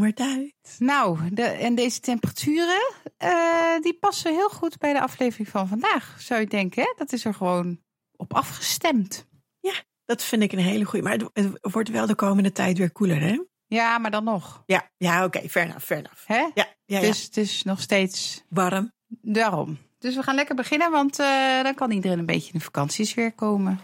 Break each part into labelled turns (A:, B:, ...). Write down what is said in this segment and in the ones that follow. A: Zomertijd.
B: Nou, de, en deze temperaturen, eh, die passen heel goed bij de aflevering van vandaag, zou je denken. Hè? Dat is er gewoon op afgestemd.
A: Dat vind ik een hele goeie. Maar het, het wordt wel de komende tijd weer koeler, hè?
B: Ja, maar dan nog.
A: Ja, ja oké. fair enough, fair enough.
B: Hè?
A: Ja, ja, ja.
B: Dus het is nog steeds
A: warm.
B: daarom. Dus we gaan lekker beginnen, want eh, dan kan iedereen een beetje in de vakanties weer komen.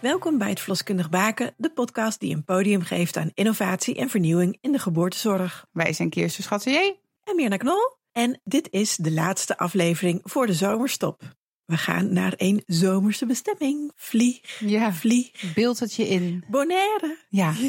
A: Welkom bij het Vloskundig Baken, de podcast die een podium geeft aan innovatie en vernieuwing in de geboortezorg.
B: Wij zijn Kirsten Schattier.
A: En Mirna Knol. En dit is de laatste aflevering voor de zomerstop. We gaan naar een zomerse bestemming. Vlieg,
B: Ja.
A: vlieg,
B: Beeld het je in.
A: Bonaire.
B: Ja.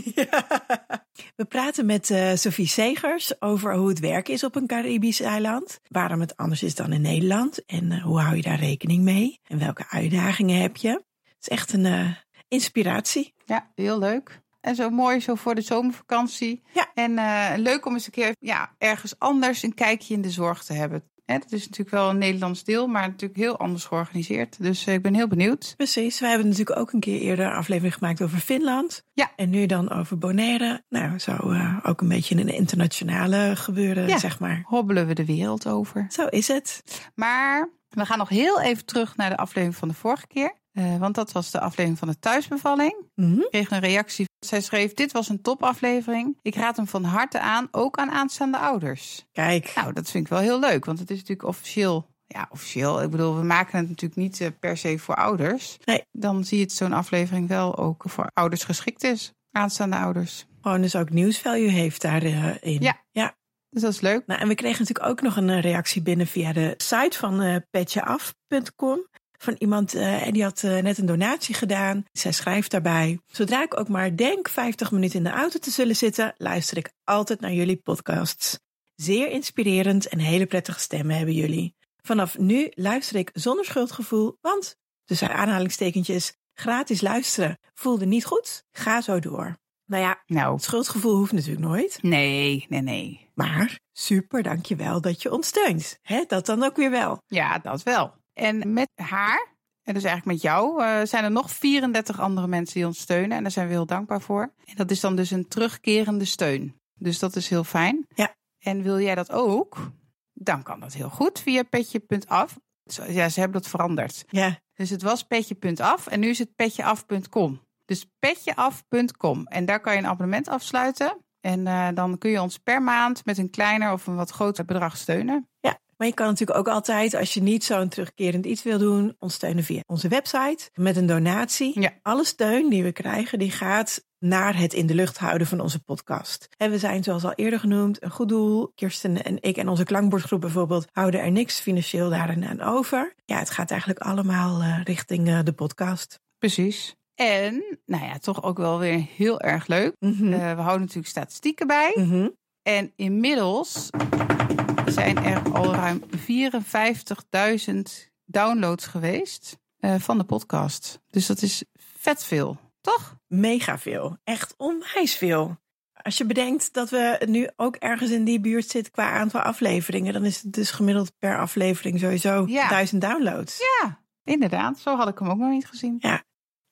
A: We praten met eh Sophie Segers over hoe het werk is op een Caribisch eiland. Waarom het anders is dan in Nederland. En eh, hoe hou je daar rekening mee? En welke uitdagingen heb je? Het is echt een eh, inspiratie.
B: Ja, heel leuk. En zo mooi zo voor de zomervakantie.
A: Ja.
B: En eh, leuk om eens een keer ja, ergens anders een kijkje in de zorg te hebben. Hè, dat is natuurlijk wel een Nederlands deel, maar natuurlijk heel anders georganiseerd. Dus eh, ik ben heel benieuwd.
A: Precies, wij hebben natuurlijk ook een keer eerder een aflevering gemaakt over Finland.
B: Ja.
A: En nu dan over Bonaire. Nou, zo eh, ook een beetje een internationale gebeuren,
B: Ja.
A: zeg maar.
B: Hobbelen we de wereld over.
A: Zo is het.
B: Maar we gaan nog heel even terug naar de aflevering van de vorige keer. Eh, want dat was de aflevering van de thuisbevalling.
A: Mhm.
B: Ik kreeg een reactie. Zij schreef, dit was een topaflevering. Ik raad hem van harte aan, ook aan aanstaande ouders.
A: Kijk,
B: Nou, dat vind ik wel heel leuk, want het is natuurlijk officieel. Ja, officieel. Ik bedoel, we maken het natuurlijk niet eh, per se voor ouders.
A: Nee.
B: Dan zie je het zo'n aflevering wel ook voor ouders geschikt is. Aanstaande ouders.
A: gewoon dus ook nieuwsvalue heeft daarin. in.
B: Ja.
A: ja.
B: Dus dat is leuk.
A: Nou, en we kregen natuurlijk ook nog een eh, reactie binnen via de site van eh petjeaf.com. Van iemand, eh, en die had eh, net een donatie gedaan. Zij schrijft daarbij: Zodra ik ook maar denk 50 minuten in de auto te zullen zitten, luister ik altijd naar jullie podcasts. Zeer inspirerend en hele prettige stemmen hebben jullie. Vanaf nu luister ik zonder schuldgevoel, want, tussen aanhalingstekentjes, gratis luisteren voelde niet goed. Ga zo door. Nou ja,
B: Nou,
A: het schuldgevoel hoeft natuurlijk nooit.
B: nee, nee, nee.
A: Maar super, dankjewel dat je ons steunt. Hè, dat dan ook weer wel.
B: Ja, dat wel. En met haar, en dus eigenlijk met jou, eh, zijn er nog 34 andere mensen die ons steunen. En daar zijn we heel dankbaar voor. En dat is dan dus een terugkerende steun. Dus dat is heel fijn.
A: Ja.
B: En wil jij dat ook? Dan kan dat heel goed via petje.af. Zo- Ja, ze hebben dat veranderd.
A: Ja,
B: Dus het was petje.af en nu is het petjeaf.com. Dus petjeaf.com. En daar kan je een abonnement afsluiten. En eh, dan kun je ons per maand met een kleiner of een wat groter bedrag steunen.
A: ja. Maar je kan natuurlijk ook altijd, als je niet zo'n terugkerend iets wil doen, ons steunen via onze website met een donatie.
B: Ja.
A: Alle steun die we krijgen, die gaat naar het in de lucht houden van onze podcast. En we zijn, zoals al eerder genoemd, een goed doel. Kirsten en ik en onze klankbordgroep bijvoorbeeld houden er niks financieel daarin aan over. Ja, het gaat eigenlijk allemaal eh, richting eh, de podcast.
B: Precies. En, nou ja, toch ook wel weer heel erg leuk.
A: Mhm.
B: Eh, we houden natuurlijk statistieken bij.
A: Mhm.
B: En inmiddels zijn er al ruim 54.000 downloads geweest eh, van de podcast. Dus dat is vet veel, toch?
A: mega veel. Echt onwijs veel. Als je bedenkt dat we nu ook ergens in die buurt zitten qua aantal afleveringen, dan is het dus gemiddeld per aflevering sowieso
B: Ja.
A: duizend downloads.
B: Ja, inderdaad. Zo had ik hem ook nog niet gezien.
A: Ja.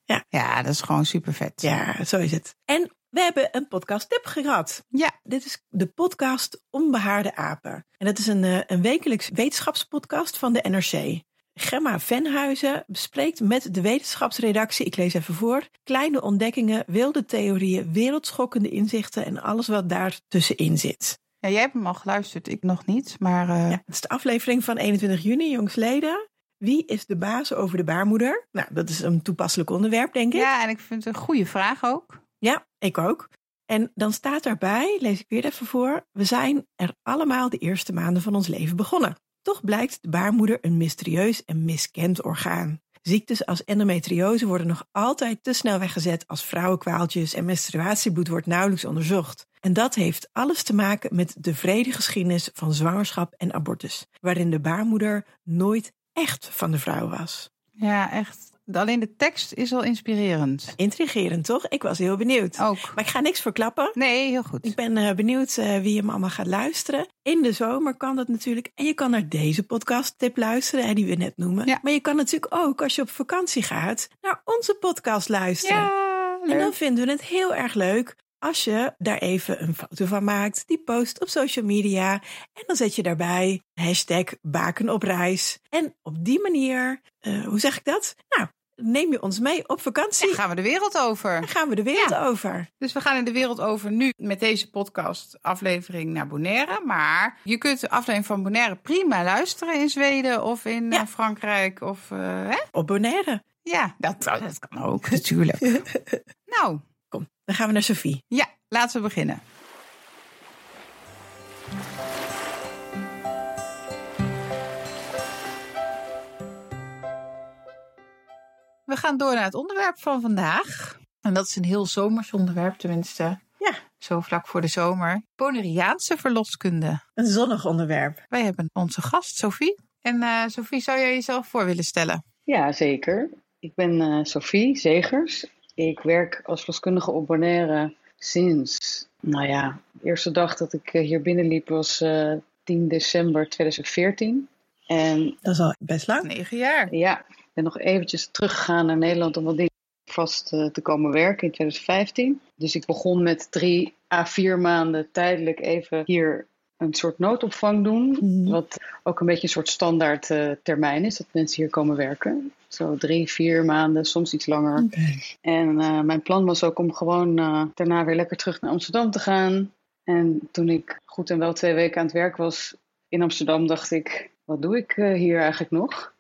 A: Ja.
B: ja dat is gewoon super vet.
A: Ja, zo is het. En we hebben een podcast tip gehad.
B: ja.
A: Dit is de podcast Onbehaarde Apen. En dat is een, eh, een wekelijks wetenschapspodcast van de NRC. Gemma Venhuizen bespreekt met de wetenschapsredactie, ik lees even voor, kleine ontdekkingen, wilde theorieën, wereldschokkende inzichten en alles wat daar tussenin zit.
B: Ja, jij hebt hem al geluisterd, ik nog niet. Maar eh,
A: Ja, het is de aflevering van 21 juni, jongsleden. Wie is de baas over de baarmoeder? Nou, dat is een toepasselijk onderwerp, denk ik.
B: ja, en ik vind het een goede vraag ook.
A: Ja, ik ook. En dan staat daarbij, lees ik weer even voor, we zijn er allemaal de eerste maanden van ons leven begonnen. Toch blijkt de baarmoeder een mysterieus en miskend orgaan. Ziektes als endometriose worden nog altijd te snel weggezet als vrouwenkwaaltjes en menstruatiebloed wordt nauwelijks onderzocht. En dat heeft alles te maken met de vrede geschiedenis van zwangerschap en abortus, waarin de baarmoeder nooit echt van de vrouw was.
B: Ja, echt. Alleen de tekst is al inspirerend.
A: Intrigerend, toch? Ik was heel benieuwd.
B: Ook.
A: Maar ik ga niks verklappen.
B: Nee, heel goed.
A: Ik ben eh, benieuwd eh, wie hem allemaal gaat luisteren. In de zomer kan dat natuurlijk. En je kan naar deze podcast tip luisteren, hè, die we net noemen.
B: Ja.
A: Maar je kan natuurlijk ook, als je op vakantie gaat, naar onze podcast luisteren.
B: Ja,
A: En dan
B: leuk.
A: vinden we het heel erg leuk als je daar even een foto van maakt. Die post op social media. En dan zet je daarbij hashtag baken op reis. En op die manier, eh, hoe zeg ik dat? Nou, neem je ons mee op vakantie.
B: Dan gaan we de wereld
A: Dan
B: over.
A: gaan we de wereld
B: Ja.
A: over.
B: Dus we gaan in de wereld over nu met deze podcast aflevering naar Bonaire. Maar je kunt de aflevering van Bonaire prima luisteren in Zweden of in
A: Ja.
B: eh, Frankrijk. Of, eh, hè?
A: Op Bonaire.
B: Ja, dat, dat kan ook natuurlijk. nou,
A: Kom, dan gaan we naar Sophie.
B: ja, laten we beginnen. We gaan door naar het onderwerp van vandaag. En dat is een heel zomers onderwerp, tenminste.
A: Ja.
B: Zo vlak voor de zomer. Bonaireaanse verloskunde.
A: Een zonnig onderwerp.
B: Wij hebben onze gast, Sophie. En eh Sophie, zou jij jezelf voor willen stellen?
C: Ja, zeker. Ik ben eh Sophie Zegers. Ik werk als verloskundige op Bonaire sinds, nou ja, de eerste dag dat ik eh, hier binnenliep was eh 10 december 2014. En
A: Dat is al best lang.
B: Negen jaar.
C: ja, ik ben nog eventjes teruggegaan naar Nederland om wat dingen vast eh, te komen werken in 2015. Dus ik begon met drie à vier maanden tijdelijk even hier een soort noodopvang doen.
A: Mhm.
C: Wat ook een beetje een soort standaard eh, termijn is, dat mensen hier komen werken. Zo drie, vier maanden, soms iets langer. En eh, mijn plan was ook om gewoon eh, daarna weer lekker terug naar Amsterdam te gaan. En toen ik goed en wel twee weken aan het werk was in Amsterdam, dacht ik, wat doe ik eh, hier eigenlijk nog?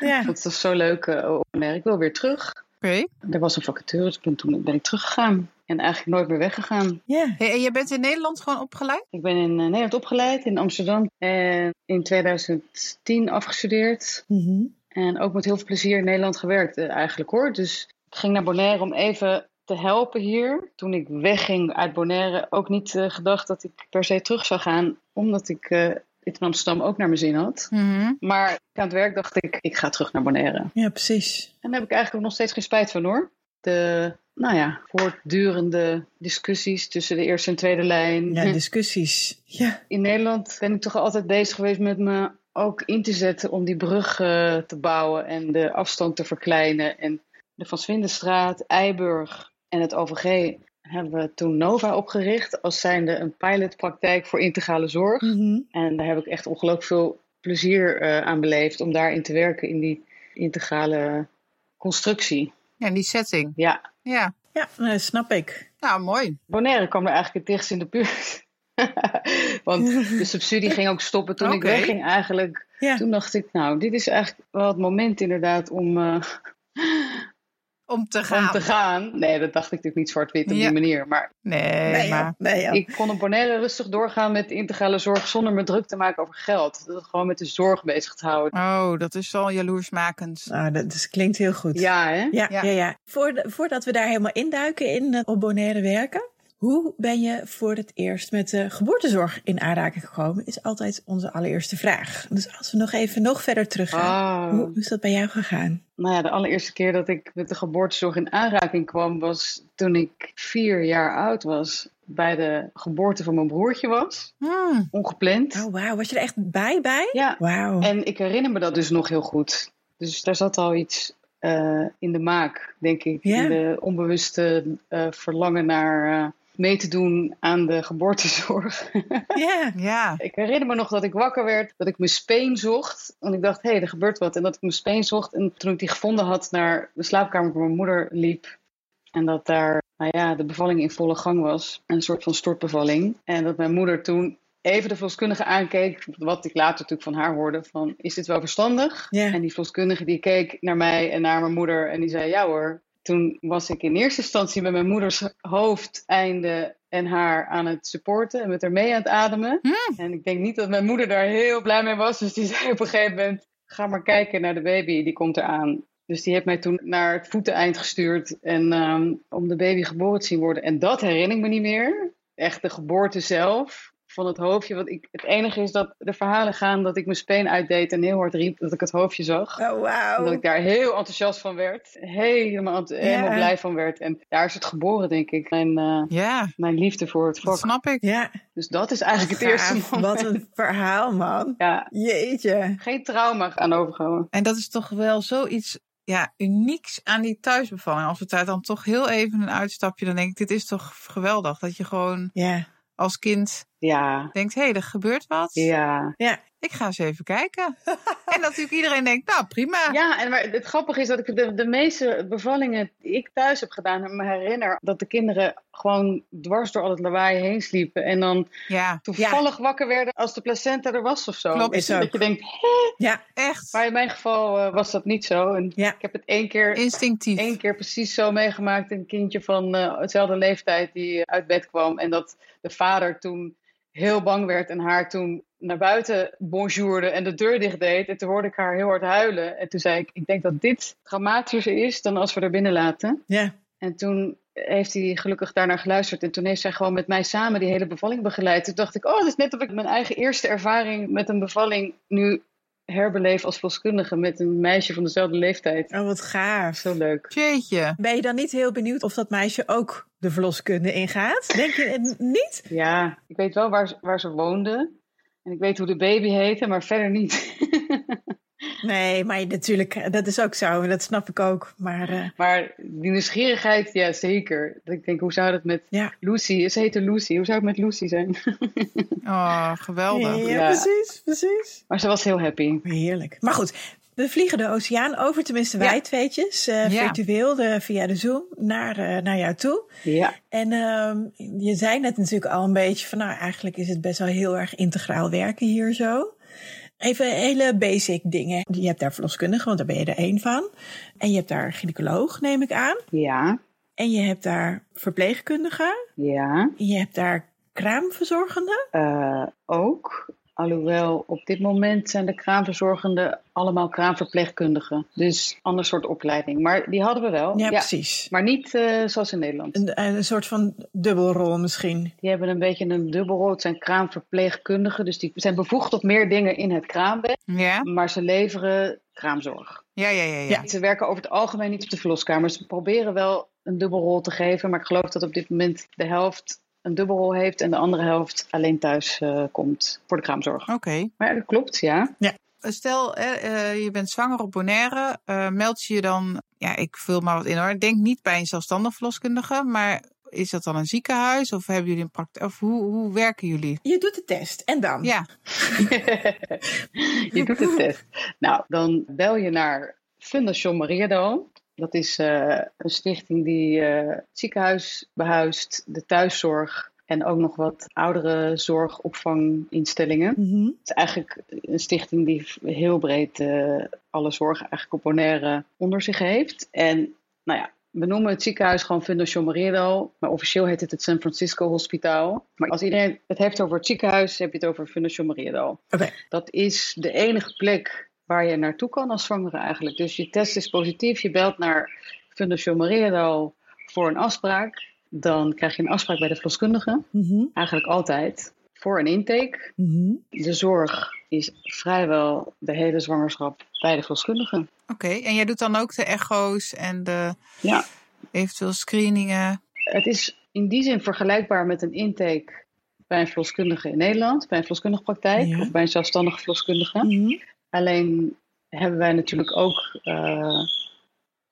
A: Ja.
C: Dat was zo leuk. eh, oh, nee, ik wil weer terug.
B: Oké.
C: Er was een vacature, dus ik ben- toen ben ik teruggegaan. En eigenlijk nooit meer weggegaan.
A: ja.
B: Hey, en jij bent in Nederland gewoon opgeleid?
C: Ik ben in eh, Nederland opgeleid, in Amsterdam. En in 2010 afgestudeerd.
A: Mhm.
C: En ook met heel veel plezier in Nederland gewerkt eh, eigenlijk hoor. Dus ik ging naar Bonaire om even te helpen hier. Toen ik wegging uit Bonaire ook niet eh, gedacht dat ik per se terug zou gaan. Omdat ik eh, het in Amsterdam ook naar mijn zin had.
B: Mhm.
C: Maar aan het werk dacht ik, ik ga terug naar Bonaire.
A: ja, precies.
C: En daar heb ik eigenlijk ook nog steeds geen spijt van hoor. De, nou ja, voortdurende discussies tussen de eerste en tweede lijn.
A: Ja, discussies. Ja.
C: In Nederland ben ik toch altijd bezig geweest met me ook in te zetten om die brug eh, te bouwen en de afstand te verkleinen. En de Van Swindenstraat, Eiburg en het OVG hebben we toen Nova opgericht als zijnde een pilotpraktijk voor integrale zorg.
A: Mhm.
C: En daar heb ik echt ongelooflijk veel plezier eh, aan beleefd om daarin te werken in die integrale constructie.
B: Ja, in die setting.
C: Ja,
B: Ja,
A: Ja, dat snap ik.
B: nou mooi.
C: Bonaire kwam er eigenlijk het dichtst in de buurt. Want de subsidie ging ook stoppen toen ik
B: Oké.
C: wegging eigenlijk.
A: Ja.
C: Toen dacht ik, nou, dit is eigenlijk wel het moment inderdaad om, eh,
B: Om te gaan.
C: om te gaan. Nee, dat dacht ik natuurlijk niet zwart-wit op
B: Ja.
C: die manier. Maar
B: Nee,
A: Nee,
B: maar...
A: ja. Nee, ja.
C: ik kon op Bonaire rustig doorgaan met integrale zorg zonder me druk te maken over geld. Dat Gewoon met de zorg bezig te houden.
B: Oh, dat is wel jaloersmakend.
A: Nou, dat dus klinkt heel goed.
C: Ja, hè?
A: Ja, ja.
B: Ja.
A: ja, Voor, voordat we daar helemaal induiken in eh, op Bonaire werken. Hoe ben je voor het eerst met de geboortezorg in aanraking gekomen? Is altijd onze allereerste vraag. Dus als we nog even nog verder teruggaan.
C: Ah.
A: Hoe hoe is dat bij jou gegaan?
C: Nou ja, de allereerste keer dat ik met de geboortezorg in aanraking kwam was toen ik vier jaar oud was. Bij de geboorte van mijn broertje was.
B: Hmm.
C: Ongepland.
A: Oh, wauw. Was je er echt bij bij?
C: Ja,
A: Wauw.
C: En ik herinner me dat dus nog heel goed. Dus daar zat al iets eh, in de maak, denk ik.
A: Ja.
C: In de onbewuste eh, verlangen naar eh, mee te doen aan de geboortezorg.
A: Ja.
B: Ja.
C: ik herinner me nog dat ik wakker werd, dat ik mijn speen zocht. Want ik dacht, hé, er gebeurt wat. En dat ik mijn speen zocht. En toen ik die gevonden had, naar de slaapkamer van mijn moeder liep. En dat daar, nou ja, de bevalling in volle gang was. Een soort van stortbevalling. En dat mijn moeder toen even de verloskundige aankeek. Wat ik later natuurlijk van haar hoorde. Van, is dit wel verstandig?
A: Ja.
C: En die verloskundige die keek naar mij en naar mijn moeder. En die zei, ja hoor. Toen was ik in eerste instantie met mijn moeders hoofd, einde en haar aan het supporten. En met haar mee aan het ademen. En ik denk niet dat mijn moeder daar heel blij mee was. Dus die zei op een gegeven moment: ga maar kijken naar de baby, die komt eraan. Dus die heeft mij toen naar het voeteneind gestuurd en, ehm, om de baby geboren te zien worden. En dat herinner ik me niet meer. Echt de geboorte zelf. van het hoofdje. Want ik, het enige is dat de verhalen gaan dat ik mijn speen uitdeed en heel hard riep dat ik het hoofdje zag.
A: Oh,
C: En dat
A: wauw.
C: ik daar heel enthousiast van werd. Helemaal, ent- helemaal blij van werd. En daar is het geboren, denk ik. Mijn, eh,
B: Ja,
C: mijn liefde voor het
B: dat
C: vak.
B: snap ik.
A: Ja,
C: Dus dat is eigenlijk het eerste
A: gaaf.
C: moment.
A: Wat een verhaal, man.
C: Ja,
A: Jeetje.
C: geen trauma aan overgehouden.
B: En dat is toch wel zoiets ja, unieks aan die thuisbevalling. Als we daar dan toch heel even een uitstapje, dan denk ik, dit is toch geweldig. Dat je gewoon
A: Ja,
B: als kind
C: Ja,
B: denkt, hé, er gebeurt wat.
C: ja.
A: ja.
B: Ik ga eens even kijken. en dat natuurlijk iedereen denkt, nou prima.
C: Ja, en maar het grappige is dat ik de, de meeste bevallingen die ik thuis heb gedaan, me herinner dat de kinderen gewoon dwars door al het lawaai heen sliepen. En dan
B: Ja,
C: toevallig wakker werden als de placenta er was of zo.
B: Klopt.
C: Weet je,
A: Is ook.
C: dat je denkt, "Hè?"
A: ja.
B: echt
C: maar in mijn geval eh, was dat niet zo. En
A: Ja.
C: ik heb het één keer
B: instinctief.
C: Eén keer precies zo meegemaakt. Een kindje van eh, hetzelfde leeftijd die eh, uit bed kwam. En dat de vader toen heel bang werd en haar toen naar buiten bonjourde en de deur dicht deed. En toen hoorde ik haar heel hard huilen. En toen zei ik, ik denk dat dit dramatischer is dan als we er binnen laten.
A: ja.
C: En toen heeft hij gelukkig daarnaar geluisterd. En toen heeft zij gewoon met mij samen die hele bevalling begeleid. Toen dacht ik, oh, dat is net of ik mijn eigen eerste ervaring met een bevalling nu herbeleef als verloskundige met een meisje van dezelfde leeftijd.
A: Oh, wat gaaf.
C: Zo leuk.
B: Jeetje.
A: Ben je dan niet heel benieuwd of dat meisje ook de verloskunde ingaat? Denk je het niet?
C: Ja, ik weet wel waar, ze- waar ze woonde. En ik weet hoe de baby heette, maar verder niet.
A: Nee, maar natuurlijk, eh, dat is ook zo. en Dat snap ik ook. Maar eh,
C: maar die nieuwsgierigheid, ja zeker. Dat ik denk, hoe zou dat met
A: ja.
C: Lucy... Ze heette Lucy, hoe zou het met Lucy zijn?
B: Oh, geweldig.
A: ja,
C: Ja.
A: precies, precies.
C: maar ze was heel happy.
A: Heerlijk. Maar goed, we vliegen de oceaan over, tenminste wij
B: Ja.
A: tweetjes, eh,
B: Ja.
A: virtueel de, via de Zoom, naar, eh, naar jou toe.
C: Ja,
A: En ehm, je zei net natuurlijk al een beetje van, nou eigenlijk is het best wel heel erg integraal werken hier zo. Even hele basic dingen. Je hebt daar verloskundige, want daar ben je er één van. En je hebt daar gynaecoloog, neem ik aan.
C: ja,
A: En je hebt daar verpleegkundige.
C: ja.
A: Je hebt daar kraamverzorgende.
C: Eh, ook. Alhoewel, op dit moment zijn de kraamverzorgenden allemaal kraamverpleegkundigen. Dus ander soort opleiding. Maar die hadden we wel.
A: Ja, precies.
C: Maar niet eh, zoals in Nederland.
A: Een, een soort van dubbelrol misschien.
C: Die hebben een beetje een dubbelrol. Het zijn kraamverpleegkundigen, dus die zijn bevoegd tot meer dingen in het kraambed.
B: Ja,
C: Maar ze leveren kraamzorg.
B: ja, ja, ja. ja.
A: Ja.
C: Ze werken over het algemeen niet op de verloskamer. Ze proberen wel een dubbelrol te geven, maar ik geloof dat op dit moment de helft een dubbelrol heeft en de andere helft alleen thuis eh, komt voor de kraamzorg.
B: Oké.
C: Maar ja, dat klopt, ja.
B: Stel, hè, eh, je bent zwanger op Bonaire, eh, meld je je dan, ja, ik vul maar wat in hoor. Denk niet bij een zelfstandig verloskundige, maar is dat dan een ziekenhuis of hebben jullie een praktijk? Of hoe, hoe werken jullie?
A: Je doet de test en dan?
B: Ja,
C: je doet de test. Nou, dan bel je naar Fundación Maria Dom. Dat is eh, een stichting die eh, het ziekenhuis behuist, de thuiszorg en ook nog wat oudere zorgopvanginstellingen.
A: Mhm.
C: Het is eigenlijk een stichting die heel breed eh, alle zorg eigenlijk op Bonaire onder zich heeft. En nou ja, we noemen het ziekenhuis gewoon Fundación Morero, maar officieel heet het het San Francisco Hospitaal. Maar als iedereen het heeft over het ziekenhuis, heb je het over Fundación Morero.
A: Oké.
C: Dat is de enige plek waar je naartoe kan als zwangere eigenlijk. Dus je test is positief, je belt naar Fundación Morero voor een afspraak. Dan krijg je een afspraak bij de verloskundige,
A: Mhm.
C: eigenlijk altijd, voor een intake.
A: Mhm.
C: De zorg is vrijwel de hele zwangerschap bij de verloskundige.
B: oké. En jij doet dan ook de echo's en de
C: Ja.
B: eventueel screeningen.
C: Het is in die zin vergelijkbaar met een intake bij een verloskundige in Nederland, bij een verloskundige praktijk
A: Ja.
C: of bij een zelfstandige verloskundige.
A: Mhm.
C: Alleen hebben wij natuurlijk ook eh,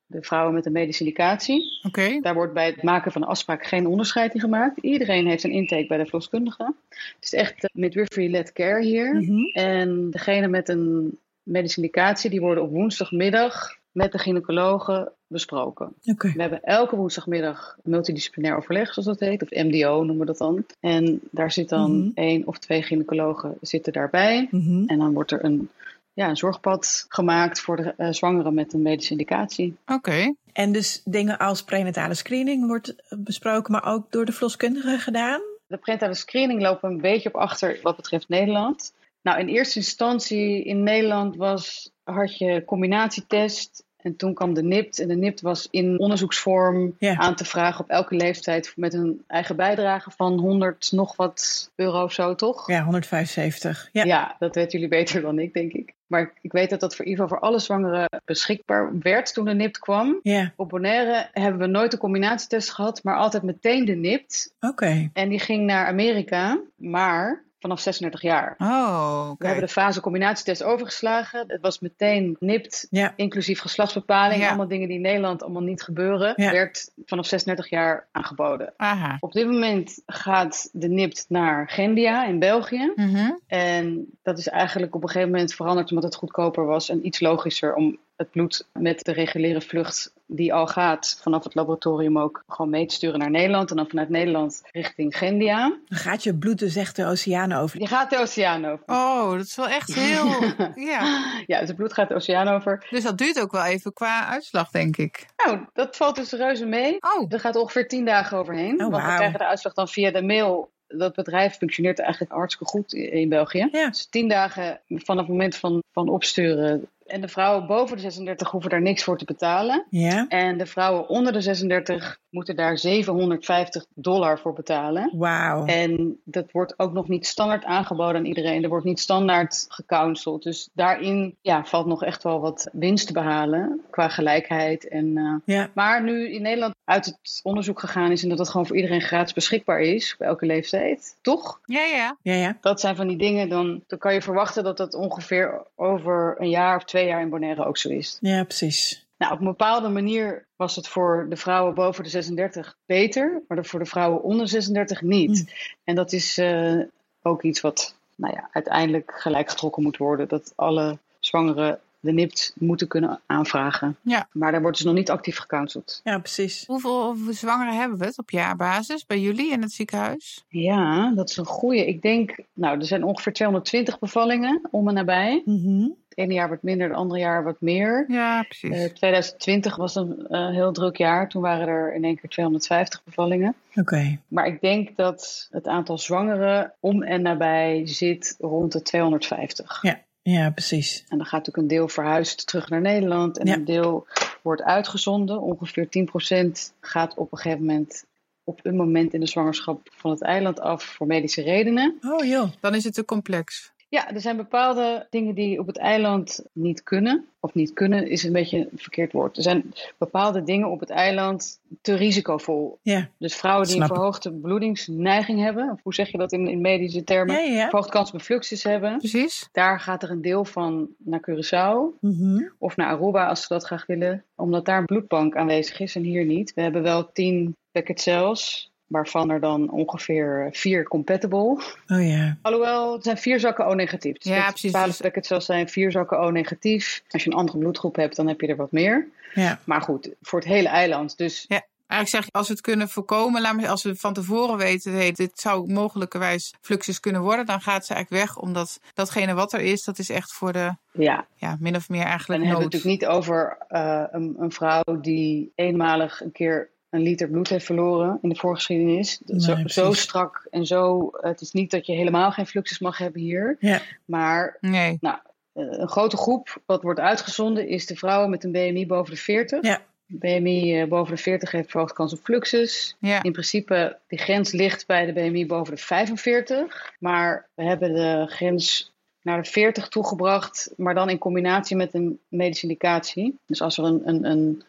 C: de vrouwen met een medische indicatie.
B: Oké,
C: Daar wordt bij het maken van de afspraak geen onderscheid in gemaakt. Iedereen heeft een intake bij de verloskundige. Het is echt eh, midwifery-led care hier.
A: Mhm.
C: En degene met een medische indicatie, die worden op woensdagmiddag met de gynaecologen besproken.
A: Oké.
C: We hebben elke woensdagmiddag multidisciplinair overleg, zoals dat heet, of MDO noemen we dat dan. En daar zit dan
A: Mhm.
C: één of twee gynaecologen zitten daarbij.
A: Mhm.
C: En dan wordt er een, ja, een zorgpad gemaakt voor de eh, zwangeren met een medische indicatie.
B: oké.
A: En dus dingen als prenatale screening wordt eh, besproken, maar ook door de verloskundige gedaan.
C: De prenatale screening lopen een beetje op achter wat betreft Nederland. Nou, in eerste instantie in Nederland was, had je combinatietest En toen kwam de NIPT. En de NIPT was in onderzoeksvorm
A: Ja.
C: aan te vragen op elke leeftijd met een eigen bijdrage van 100 nog wat euro of zo, toch?
A: Ja, 175. Ja.
C: Ja. dat weten jullie beter dan ik, denk ik. Maar ik- ik weet dat dat voor Ivo voor alle zwangeren beschikbaar werd toen de NIPT kwam.
A: Ja,
C: Op Bonaire hebben we nooit de combinatietest gehad, maar altijd meteen de NIPT.
A: oké.
C: En die ging naar Amerika, maar vanaf 36 jaar.
B: Oh, oké.
C: We hebben de fase combinatietest overgeslagen. Het was meteen nipt,
A: Ja,
C: inclusief geslachtsbepaling.
B: Ja.
C: Allemaal dingen die in Nederland allemaal niet gebeuren.
A: Ja.
C: Werd vanaf 36 jaar aangeboden.
B: Aha.
C: Op dit moment gaat de nipt naar Gendia in België.
B: Mhm.
C: En dat is eigenlijk op een gegeven moment veranderd omdat het goedkoper was en iets logischer om het bloed met de reguliere vlucht die al gaat vanaf het laboratorium ook gewoon mee te sturen naar Nederland. En dan vanuit Nederland richting Gendia.
A: dan gaat je bloed dus echt de oceaan over.
C: Die gaat de oceaan over.
B: Oh, dat is wel echt heel. ja.
C: Ja, dus het bloed gaat de oceaan over.
B: Dus dat duurt ook wel even qua uitslag, denk ik.
C: Nou, dat valt dus reuze mee.
B: Oh,
C: Er gaat ongeveer tien dagen overheen.
A: Oh,
C: want we
A: wauw.
C: krijgen de uitslag dan via de mail. Dat bedrijf functioneert eigenlijk hartstikke goed i- in België.
A: Ja.
C: Dus tien dagen vanaf het moment van, van opsturen. En de vrouwen boven de 36 hoeven daar niks voor te betalen.
A: Ja,
C: En de vrouwen onder de 36 moeten daar 750 dollar voor betalen.
A: wauw.
C: En dat wordt ook nog niet standaard aangeboden aan iedereen. Er wordt niet standaard gecounseld. Dus daarin ja, valt nog echt wel wat winst te behalen qua gelijkheid. En, eh,
A: Ja.
C: Maar nu in Nederland uit het onderzoek gegaan is en dat dat gewoon voor iedereen gratis beschikbaar is, op elke leeftijd, toch?
B: ja, ja.
A: Ja, ja.
C: Dat zijn van die dingen, dan, dan kan je verwachten dat dat ongeveer over een jaar of twee jaar in Bonaire ook zo is.
A: Ja, precies.
C: Nou, op een bepaalde manier was het voor de vrouwen boven de 36 beter, maar voor de vrouwen onder 36 niet. En dat is eh, ook iets wat nou ja, uiteindelijk gelijk getrokken moet worden. Dat alle zwangeren de NIPT moeten kunnen aanvragen.
B: Ja.
C: Maar daar wordt dus nog niet actief gecounseld.
A: Ja, precies.
B: Hoeveel zwangeren hebben we het op jaarbasis bij jullie in het ziekenhuis?
C: Ja, dat is een goeie. Ik denk, nou, er zijn ongeveer 220 bevallingen om en nabij.
A: Mhm.
C: Het ene jaar wat minder, het andere jaar wat meer.
B: Ja,
C: Eh,
B: precies.
C: 2020 was een eh, heel druk jaar. Toen waren er in één keer 250 bevallingen.
A: Oké.
C: Maar ik denk dat het aantal zwangeren om en nabij zit rond de 250.
A: Ja, ja, precies.
C: En dan gaat natuurlijk een deel verhuisd terug naar Nederland. En
A: Ja.
C: een deel wordt uitgezonden. Ongeveer 10% gaat op een gegeven moment op een moment in de zwangerschap van het eiland af voor medische redenen.
A: Oh joh.
B: Dan is het te complex.
C: Ja, er zijn bepaalde dingen die op het eiland niet kunnen. Of niet kunnen is een beetje een verkeerd woord. Er zijn bepaalde dingen op het eiland te risicovol.
A: Ja.
C: Dus vrouwen die een
A: Snap ik.
C: verhoogde bloedingsneiging hebben, of hoe zeg je dat in, in medische termen?
A: Ja, ja, ja.
C: verhoogd kans op een fluxus hebben.
B: Precies.
C: Daar gaat er een deel van naar Curaçao
A: Mhm.
C: of naar Aruba als ze dat graag willen. Omdat daar een bloedbank aanwezig is en hier niet. We hebben wel tien packet cells, waarvan er dan ongeveer eh, vier compatible.
A: Oh ja.
C: Alhoewel, het zijn vier zakken O-negatief. Dus
B: Ja,
C: dat
B: precies.
C: Twaalf packet cells zijn vier zakken O-negatief. Als je een andere bloedgroep hebt, dan heb je er wat meer.
A: Ja.
C: Maar goed, voor het hele eiland. Dus
B: Eigenlijk zeg je, als we het kunnen voorkomen, laat maar, als we van tevoren weten, hey, dit zou mogelijkerwijs fluxus kunnen worden, dan gaat ze eigenlijk weg, omdat datgene wat er is, dat is echt voor de,
C: ja,
B: ja, min of meer eigenlijk
C: En dan hebben
B: nood.
C: we het natuurlijk niet over eh, een, een vrouw die eenmalig een keer een liter bloed heeft verloren in de voorgeschiedenis.
A: Nee,
C: zo,
A: precies.
C: zo strak en zo. Het is niet dat je helemaal geen fluxus mag hebben hier.
A: Ja.
C: Maar
B: Nee.
C: eh, een grote groep wat wordt uitgezonden is de vrouwen met een BMI boven de 40.
A: Ja.
C: BMI eh, boven de 40 heeft verhoogd kans op fluxus.
B: Ja.
C: In principe, die grens ligt bij de BMI boven de 45. Maar we hebben de grens naar de 40 toegebracht, maar dan in combinatie met een medische indicatie. Dus als er een, een, een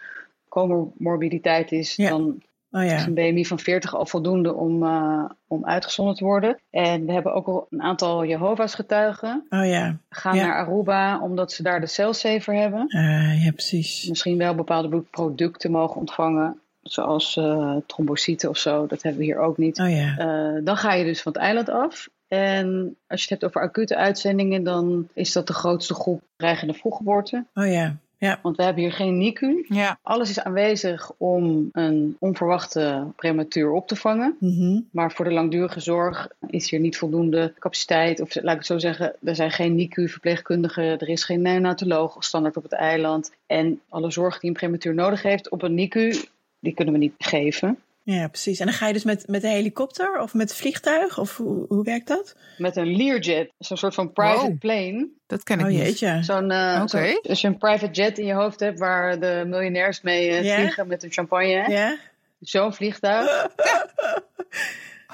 C: comorbiditeit is,
A: Ja.
C: dan
A: Oh
C: is
A: ja.
C: een BMI van 40 al voldoende om, eh, om uitgezonden te worden. En we hebben ook al een aantal Jehovah's getuigen
A: Oh ja.
C: gaan
A: Ja.
C: naar Aruba, omdat ze daar de celsaver hebben.
A: Eh, ja, precies.
C: Misschien wel bepaalde bloedproducten mogen ontvangen, zoals eh trombocyten of zo. Dat hebben we hier ook niet.
A: Oh ja.
C: Eh, dan ga je dus van het eiland af. En als je het hebt over acute uitzendingen, dan is dat de grootste groep dreigende vroeggeboorte.
A: Oh ja. Ja.
C: Want we hebben hier geen NICU.
B: Ja.
C: Alles is aanwezig om een onverwachte prematuur op te vangen.
A: Mhm.
C: Maar voor de langdurige zorg is hier niet voldoende capaciteit. Of laat ik het zo zeggen, er zijn geen NICU-verpleegkundigen. Er is geen neonatoloog standaard op het eiland. En alle zorg die een prematuur nodig heeft op een NICU, die kunnen we niet geven.
A: Ja, precies. En dan ga je dus met, met een helikopter of met vliegtuig? Of hoe, hoe werkt dat?
C: Met een Learjet, zo'n soort van private
B: Wow.
C: plane.
B: Dat ken ik
A: oh
B: niet.
A: jeetje.
C: Zo'n, eh,
B: Oké.
C: zo'n- als je een private jet in je hoofd hebt waar de miljonairs mee eh,
A: Ja.
C: vliegen met hun champagne. hè?
A: Ja?
C: Zo'n vliegtuig.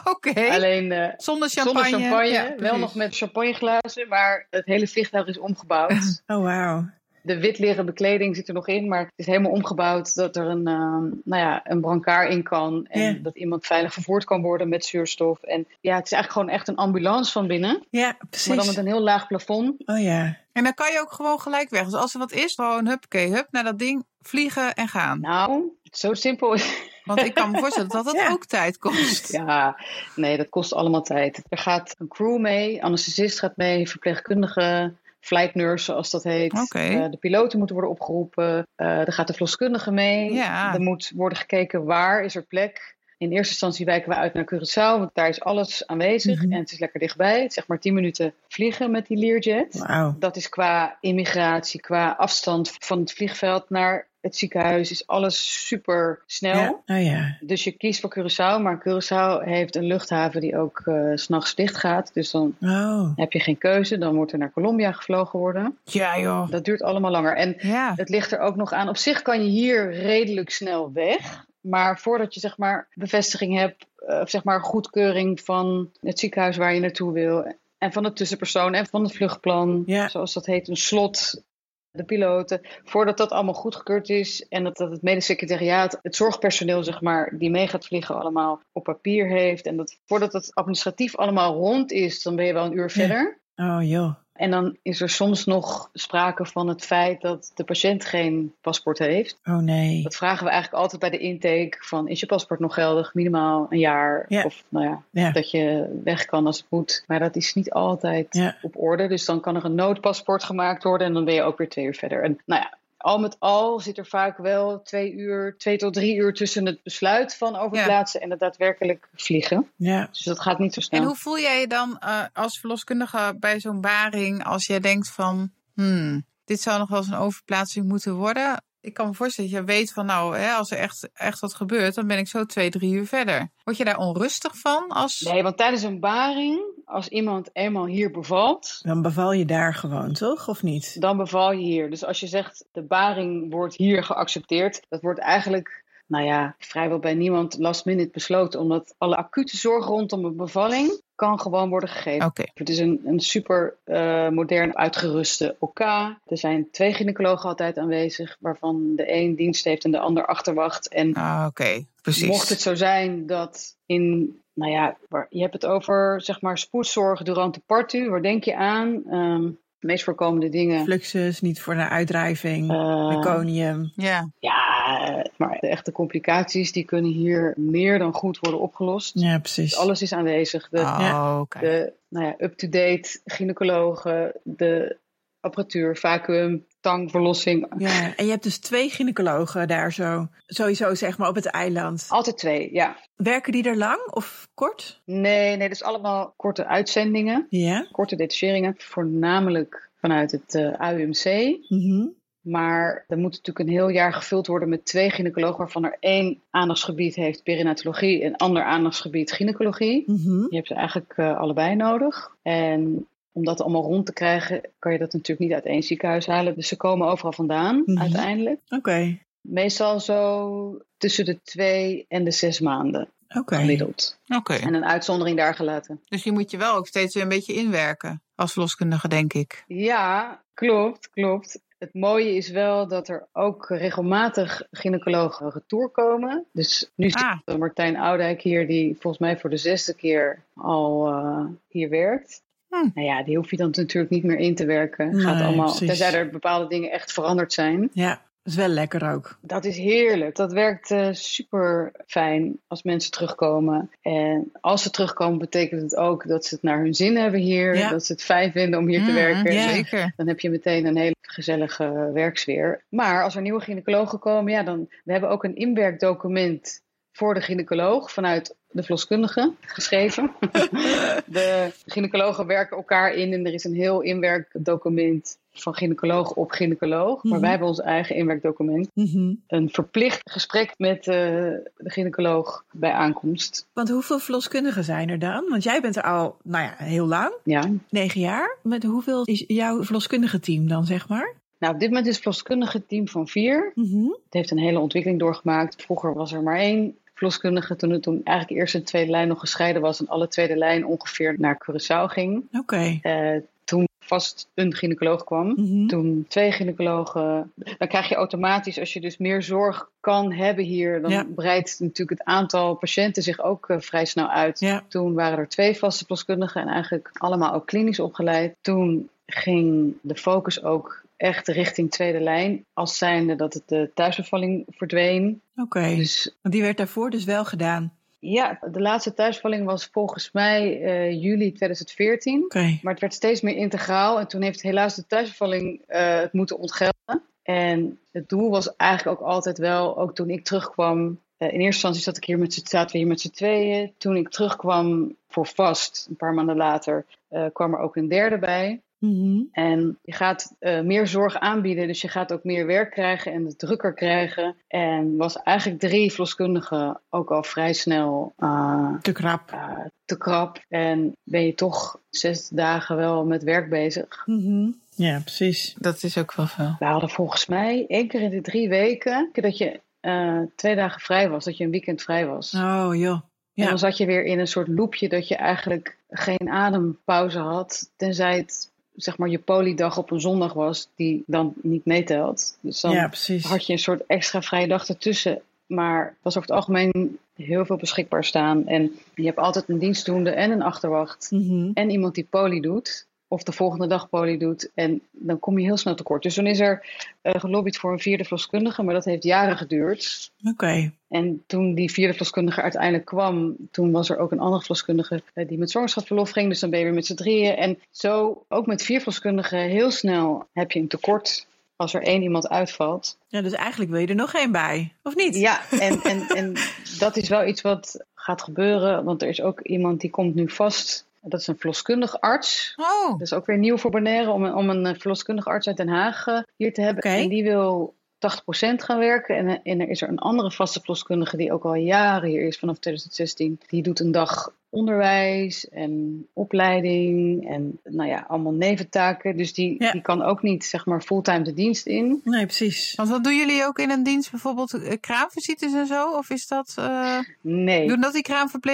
B: Oké.
C: Alleen eh,
B: Zonder champagne.
C: zonder champagne.
B: Ja,
C: wel
B: precies.
C: nog met champagneglazen, maar het hele vliegtuig is omgebouwd.
A: Oh, wauw.
C: de wit leren bekleding zit er nog in, maar het is helemaal omgebouwd dat er een, ehm, nou ja, een brancard in kan. En
A: Ja.
C: dat iemand veilig vervoerd kan worden met zuurstof. En ja, het is eigenlijk gewoon echt een ambulance van binnen.
A: Ja,
C: Maar dan
A: precies.
C: met een heel laag plafond.
A: Oh ja.
B: En dan kan je ook gewoon gelijk weg. Dus als er wat is, gewoon huppakee, hup, naar dat ding, vliegen en gaan.
C: Nou, zo simpel is
B: Want ik kan me voorstellen dat dat
A: Ja.
B: ook tijd kost.
C: Ja, nee, dat kost allemaal tijd. Er gaat een crew mee, anesthesist gaat mee, verpleegkundige, flight nurse zoals dat heet.
B: Oké.
C: Eh, de piloten moeten worden opgeroepen. Eh er gaat de verloskundige mee.
B: Ja.
C: Er moet worden gekeken waar is er plek. In eerste instantie wijken we uit naar Curaçao, want daar is alles aanwezig
A: Mhm.
C: en het is lekker dichtbij. Het is zeg maar 10 minuten vliegen met die Learjet.
A: Wauw.
C: Dat is qua immigratie, qua afstand van het vliegveld naar het ziekenhuis, is alles super snel.
A: Ja. Oh ja.
C: Dus je kiest voor Curaçao, maar Curaçao heeft een luchthaven die ook eh, s s'nachts dicht gaat. Dus dan
A: Oh.
C: heb je geen keuze. Dan moet er naar Colombia gevlogen worden.
B: Ja, joh.
C: Dat duurt allemaal langer. En
B: Ja.
C: het ligt er ook nog aan. Op zich kan je hier redelijk snel weg. Maar voordat je zeg maar bevestiging hebt, eh, of zeg maar goedkeuring van het ziekenhuis waar je naartoe wil. En van het tussenpersoon en van het vluchtplan,
A: Ja.
C: zoals dat heet, een slot, de piloten. Voordat dat allemaal goedgekeurd is en dat, dat het medisch secretariaat, het zorgpersoneel zeg maar, die mee gaat vliegen allemaal op papier heeft. En dat voordat dat administratief allemaal rond is, dan ben je wel een uur verder.
A: Oh joh.
C: En dan is er soms nog sprake van het feit dat de patiënt geen paspoort heeft.
A: Oh nee.
C: Dat vragen we eigenlijk altijd bij de intake van is je paspoort nog geldig? Minimaal een jaar
A: Ja.
C: of nou ja,
A: Ja.
C: dat je weg kan als het moet. Maar dat is niet altijd
A: Ja.
C: op orde. Dus dan kan er een noodpaspoort gemaakt worden en dan ben je ook weer twee uur verder. En nou ja, al met al zit er vaak wel twee uur, twee tot drie uur tussen het besluit van overplaatsen en het daadwerkelijk vliegen.
A: Ja.
C: Dus dat gaat niet zo snel.
B: En hoe voel jij je dan eh, als verloskundige bij zo'n baring als jij denkt van, hmm, dit zou nog wel eens een overplaatsing moeten worden? Ik kan me voorstellen dat je weet van, nou, hè, als er echt, echt wat gebeurt, dan ben ik zo twee, drie uur verder. Word je daar onrustig van? Als...
C: Nee, want tijdens een baring, als iemand eenmaal hier bevalt,
A: Dan beval je daar gewoon, toch? Of niet?
C: dan beval je hier. Dus als je zegt de baring wordt hier geaccepteerd, dat wordt eigenlijk, nou ja, vrijwel bij niemand last minute besloten, omdat alle acute zorg rondom een bevalling kan gewoon worden gegeven.
B: Oké.
C: Het is een, een super eh, modern uitgeruste OK. Er zijn twee gynaecologen altijd aanwezig, waarvan de een dienst heeft en de ander achterwacht. En
B: Ah, Oké, precies.
C: Mocht het zo zijn dat in, nou ja, waar- je hebt het over zeg maar spoedzorg durante partu, waar denk je aan? Ehm, de meest voorkomende dingen.
A: Fluxus, niet voor de uitdrijving.
C: Eh,
A: Meconium.
B: Ja,
C: ja, maar de echte complicaties die kunnen hier meer dan goed worden opgelost. Dus
A: Ja, precies.
C: Alles is aanwezig. De,
B: oh, oké.
C: de nou ja, up-to-date gynaecologen, de apparatuur, vacuüm, tang, verlossing.
A: Ja. En je hebt dus twee gynaecologen daar zo. Sowieso zeg maar op het eiland.
C: Altijd twee, ja.
A: Werken die er lang of kort?
C: Nee, nee, dat is allemaal korte uitzendingen,
A: Ja.
C: korte detacheringen. Voornamelijk vanuit het eh, AUMC.
A: Mhm.
C: Maar er moet natuurlijk een heel jaar gevuld worden met twee gynaecologen, waarvan er één aandachtsgebied heeft perinatologie en ander aandachtsgebied gynaecologie.
A: Mhm.
C: Je hebt ze eigenlijk eh, allebei nodig. En om dat allemaal rond te krijgen, kan je dat natuurlijk niet uit één ziekenhuis halen. Dus ze komen overal vandaan
A: Mhm.
C: uiteindelijk.
A: Oké.
C: Meestal zo tussen de twee en de zes maanden
A: Oké.
C: gemiddeld.
B: Oké,
C: En een uitzondering daar gelaten.
B: dus je moet je wel ook steeds weer een beetje inwerken als verloskundige, denk ik.
C: Ja, klopt, klopt. Het mooie is wel dat er ook regelmatig gynaecologen retour komen. Dus nu zit
B: Ah.
C: Martijn Oudijk hier, die volgens mij voor de zesde keer al eh, hier werkt.
B: Hm.
C: Nou ja, die hoef je dan natuurlijk niet meer in te werken. Gaat
A: Nee,
C: allemaal,
A: precies.
C: Tenzij er bepaalde dingen echt veranderd zijn.
A: Ja, dat is wel lekker ook.
C: Dat is heerlijk. Dat werkt eh, super fijn als mensen terugkomen. En als ze terugkomen, betekent het ook dat ze het naar hun zin hebben hier.
A: Ja. Hm,
C: Dat ze het fijn vinden om hier te
B: Mm,
C: werken.
A: ja.
B: Zeker.
C: Dan heb je meteen een hele gezellige werksfeer. Maar als er nieuwe gynaecologen komen, ja, dan we hebben ook een inwerkdocument voor de gynaecoloog vanuit de verloskundige geschreven. de gynaecologen werken elkaar in en er is een heel inwerkdocument van gynaecoloog op gynaecoloog. Maar
A: Mhm.
C: wij hebben ons eigen inwerkdocument.
A: Mhm.
C: Een verplicht gesprek met eh, de gynaecoloog bij aankomst.
A: Want hoeveel verloskundigen zijn er dan? Want jij bent er al, nou ja, heel lang,
C: Ja.
A: negen jaar. Met hoeveel is jouw verloskundige team dan, zeg maar?
C: Nou, op dit moment is het verloskundige team van vier.
A: Mhm.
C: Het heeft een hele ontwikkeling doorgemaakt. Vroeger was er maar één verloskundige. Toen het toen eigenlijk eerst de tweede lijn nog gescheiden was en alle tweede lijn ongeveer naar Curaçao ging.
A: Oké.
C: Eh, toen vast een gynaecoloog kwam.
A: Mhm.
C: Toen twee gynaecologen. Dan krijg je automatisch, als je dus meer zorg kan hebben hier, dan
A: Ja.
C: breidt natuurlijk het aantal patiënten zich ook eh, vrij snel uit.
A: Ja.
C: Toen waren er twee vaste verloskundigen en eigenlijk allemaal ook klinisch opgeleid. Toen ging de focus ook echt richting tweede lijn, als zijnde dat het de thuisbevalling verdween.
A: Oké.
C: Dus
A: Want die werd daarvoor dus wel gedaan.
C: ja, de laatste thuisbevalling was volgens mij eh, juli 2014.
A: Oké.
C: Maar het werd steeds meer integraal. En toen heeft helaas de thuisbevalling eh, het moeten ontgelden. En het doel was eigenlijk ook altijd wel, ook toen ik terugkwam. eh, in eerste instantie zat ik hier met z'n- zaten we hier met z'n tweeën. Toen ik terugkwam voor vast, een paar maanden later, eh, kwam er ook een derde bij.
A: Mhm.
C: En je gaat eh, meer zorg aanbieden, dus je gaat ook meer werk krijgen en het drukker krijgen. En was eigenlijk drie verloskundigen ook al vrij snel eh,
A: Te krap.
C: eh, te krap en ben je toch zes dagen wel met werk bezig.
A: Mhm. Ja, precies.
B: Dat is ook wel veel.
C: We hadden volgens mij één keer in de drie weken dat je eh, twee dagen vrij was, dat je een weekend vrij was.
A: Oh joh. ja.
C: En dan zat je weer in een soort loopje dat je eigenlijk geen adempauze had, tenzij het zeg maar je poliedag op een zondag was die dan niet meetelt. Dus dan
A: ja, precies.
C: had je een soort extra vrije dag ertussen. Maar er was over het algemeen heel veel beschikbaar staan. En je hebt altijd een dienstdoende en een achterwacht.
A: Mhm.
C: en iemand die poli doet. Of de volgende dag poli doet. En dan kom je heel snel tekort. Dus toen is er eh, gelobbyd voor een vierde verloskundige. Maar dat heeft jaren geduurd.
A: Oké.
C: En toen die vierde verloskundige uiteindelijk kwam. Toen was er ook een andere verloskundige eh, die met zwangerschapsverlof ging. Dus dan ben je weer met z'n drieën. En zo, ook met vier verloskundigen, heel snel heb je een tekort. Als er één iemand uitvalt.
A: Ja, dus eigenlijk wil je er nog één bij, of niet?
C: Ja, en, en, en dat is wel iets wat gaat gebeuren. Want er is ook iemand die komt nu vast. Dat is een verloskundig arts.
B: Oh,
C: Dat is Dus ook weer nieuw voor Bonaire om een, om een eh, verloskundig arts uit Den Haag eh, hier te hebben.
A: Oké.
C: En die wil 80% gaan werken. En, eh, en er is er een andere vaste verloskundige die ook al jaren hier is, vanaf 2016. Die doet een dag onderwijs en opleiding en nou ja, allemaal neventaken. Dus die,
A: Ja.
C: die kan ook niet zeg maar fulltime de dienst in.
A: Nee, precies.
B: want wat doen jullie ook in een dienst? Bijvoorbeeld eh, kraamvisites en zo? Of is dat, eh,
C: Nee.
B: doen dat die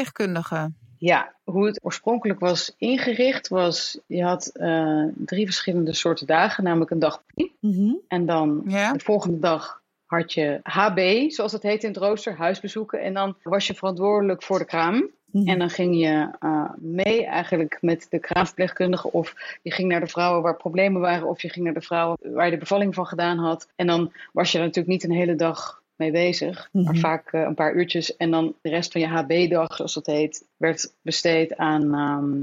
B: kraamverpleegkundigen?
C: Ja, hoe het oorspronkelijk was ingericht was, je had eh, drie verschillende soorten dagen, namelijk een dag poli
A: Mhm.
C: en dan
B: Ja?
C: de volgende dag had je HB, zoals dat heet in het rooster, huisbezoeken. En dan was je verantwoordelijk voor de kraam.
A: Mhm.
C: En dan ging je eh, mee eigenlijk met de kraamverpleegkundige. Of je ging naar de vrouwen waar problemen waren. Of je ging naar de vrouwen waar je de bevalling van gedaan had. En dan was je er natuurlijk niet een hele dag mee bezig.
A: Mhm.
C: Maar vaak eh, een paar uurtjes. En dan de rest van je HB-dag, zoals dat heet, werd besteed aan... ehm,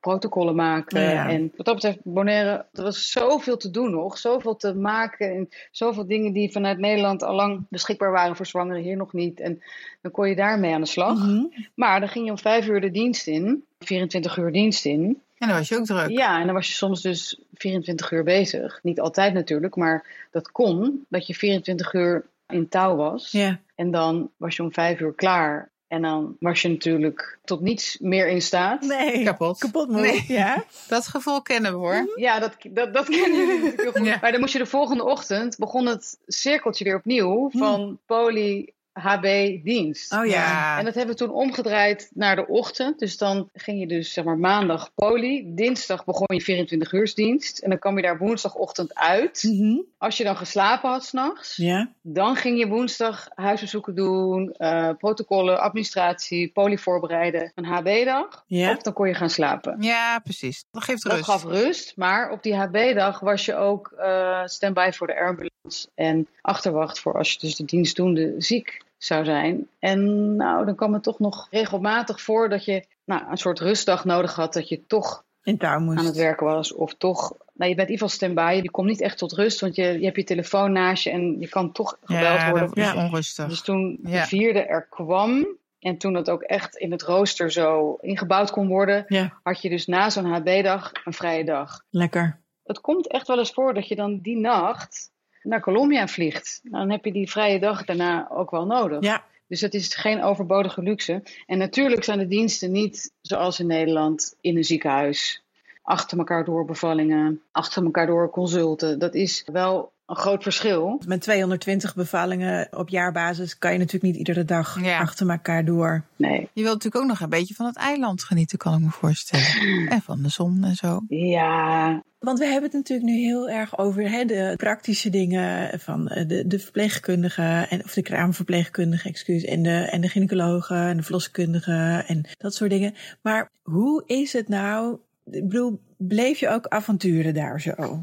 C: protocollen maken.
A: Ja.
C: En wat dat betreft, Bonaire, er was zoveel te doen nog. Zoveel te maken en zoveel dingen die vanuit Nederland al lang beschikbaar waren voor zwangeren, hier nog niet. En dan kon je daarmee aan de slag.
A: Mhm.
C: Maar dan ging je om vijf uur de dienst in, 24 uur dienst in.
B: En dan was je ook druk.
C: Ja, en dan was je soms dus 24 uur bezig. Niet altijd natuurlijk, maar dat kon, dat je 24 uur in touw was.
A: Ja.
C: En dan was je om vijf uur klaar. En dan was je natuurlijk tot niets meer in staat.
A: Nee.
B: Kapot.
A: Kapot moe.
B: Nee.
A: Ja.
B: Dat gevoel kennen we hoor.
C: Ja, dat, dat, dat kennen jullie natuurlijk heel goed.
B: Ja.
C: Maar dan moest je de volgende ochtend, begon het cirkeltje weer opnieuw
A: Hm.
C: van poli, HB, dienst.
A: Oh ja.
C: En dat hebben we toen omgedraaid naar de ochtend. Dus dan ging je dus zeg maar maandag poli, dinsdag begon je 24 uur dienst. En dan kwam je daar woensdagochtend uit.
A: Mhm.
C: Als je dan geslapen had s'nachts,
A: Ja.
C: dan ging je woensdag huisbezoeken doen, eh, protocollen, administratie, poli voorbereiden, een HB-dag.
A: Ja.
C: Of dan kon je gaan slapen.
B: Ja, precies. Dat geeft
C: Dat
B: rust.
C: gaf rust, maar op die HB-dag was je ook eh stand-by voor de ambulance en achterwacht voor als je dus de dienstdoende ziek zou zijn. En nou, dan kwam het toch nog regelmatig voor dat je nou, een soort rustdag nodig had, dat je toch
A: In touw moest.
C: aan het werken was of toch... Nou, je bent in ieder geval stand-by, je komt niet echt tot rust, want je, je hebt je telefoon naast je en je kan toch gebeld
B: ja,
C: worden.
B: dat is
A: Ja.
B: onrustig.
C: Dus toen
B: Ja.
C: de vierde er kwam, En toen dat ook echt in het rooster zo ingebouwd kon worden,
A: Ja,
C: had je dus na zo'n HB-dag een vrije dag.
A: lekker.
C: Het komt echt wel eens voor dat je dan die nacht naar Colombia vliegt. Nou, Dan heb je die vrije dag daarna ook wel nodig.
A: Ja,
C: Dus dat is geen overbodige luxe. En natuurlijk zijn de diensten niet zoals in Nederland in een ziekenhuis. Achter elkaar door bevallingen, achter elkaar door consulten. Dat is wel een groot verschil.
A: met 220 bevallingen op jaarbasis kan je natuurlijk niet iedere dag
B: Ja.
A: achter elkaar door.
C: Nee.
B: Je wilt natuurlijk ook nog een beetje van het eiland genieten, kan ik me voorstellen. en van de zon en zo.
C: Ja,
A: Want we hebben het natuurlijk nu heel erg over hè, de praktische dingen van eh, de, de verpleegkundige en, of de kraamverpleegkundige, excuus, en de, en de gynaecologe en de verloskundige en dat soort dingen. Maar hoe is het nou? Ik bedoel, bleef je ook avonturen daar zo?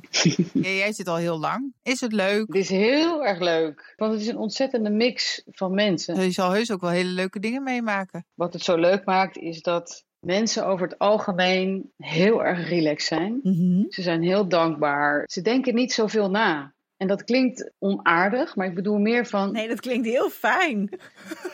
B: Ja, jij zit al heel lang. Is het leuk?
C: het is heel erg leuk. Want het is een ontzettende mix van mensen.
B: Je zal heus ook wel hele leuke dingen meemaken.
C: Wat het zo leuk maakt is dat mensen over het algemeen heel erg relaxed zijn.
A: Mhm.
C: Ze zijn heel dankbaar. Ze denken niet zoveel na. En dat klinkt onaardig, maar ik bedoel meer van
A: Nee, dat klinkt heel fijn.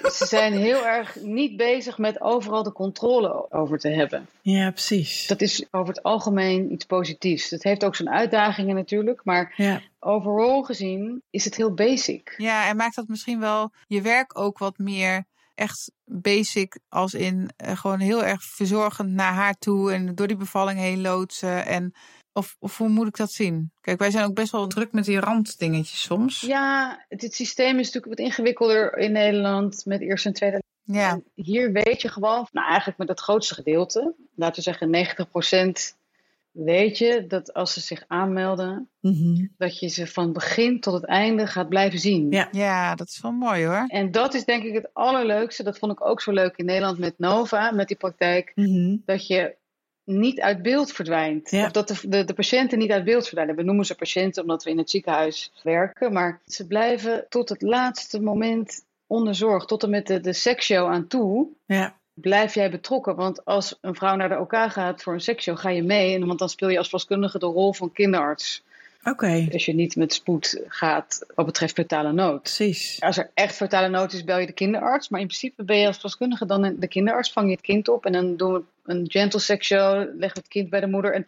C: ze zijn heel erg niet bezig met overal de controle over te hebben.
A: Ja, precies.
C: Dat is over het algemeen iets positiefs. Dat heeft ook zijn uitdagingen natuurlijk, maar
A: Ja.
C: overal gezien is het heel basic.
B: Ja, en maakt dat misschien wel je werk ook wat meer echt basic, als in eh, gewoon heel erg verzorgend naar haar toe en door die bevalling heen loodsen. En, of, of hoe moet ik dat zien? Kijk, wij zijn ook best wel druk met die randdingetjes soms.
C: Ja, het, het systeem is natuurlijk wat ingewikkelder in Nederland met eerste en tweede.
B: ja.
C: En Hier weet je gewoon, nou eigenlijk met het grootste gedeelte, laten we zeggen 90%, weet je dat als ze zich aanmelden,
A: Mhm.
C: dat je ze van begin tot het einde gaat blijven zien.
A: Ja.
B: ja dat is wel mooi hoor.
C: En dat is denk ik het allerleukste. Dat vond ik ook zo leuk in Nederland met Nova, met die praktijk.
A: Mhm.
C: Dat je niet uit beeld verdwijnt.
A: Ja.
C: Of dat de, de, de patiënten niet uit beeld verdwijnen. We noemen ze patiënten omdat we in het ziekenhuis werken. Maar ze blijven tot het laatste moment onder zorg. Tot en met de, de seksshow aan toe
A: Ja.
C: blijf jij betrokken. Want als een vrouw naar de OK gaat voor een seksshow, ga je mee. En, want dan speel je als verloskundige de rol van kinderarts.
A: Oké,
C: Als je niet met spoed gaat wat betreft fetale nood.
A: precies.
C: Als er echt vertalen nood is, bel je de kinderarts. Maar in principe ben je als verloskundige dan een- de kinderarts, vang je het kind op en dan doen we een gentle sex show, leggen we het kind bij de moeder. En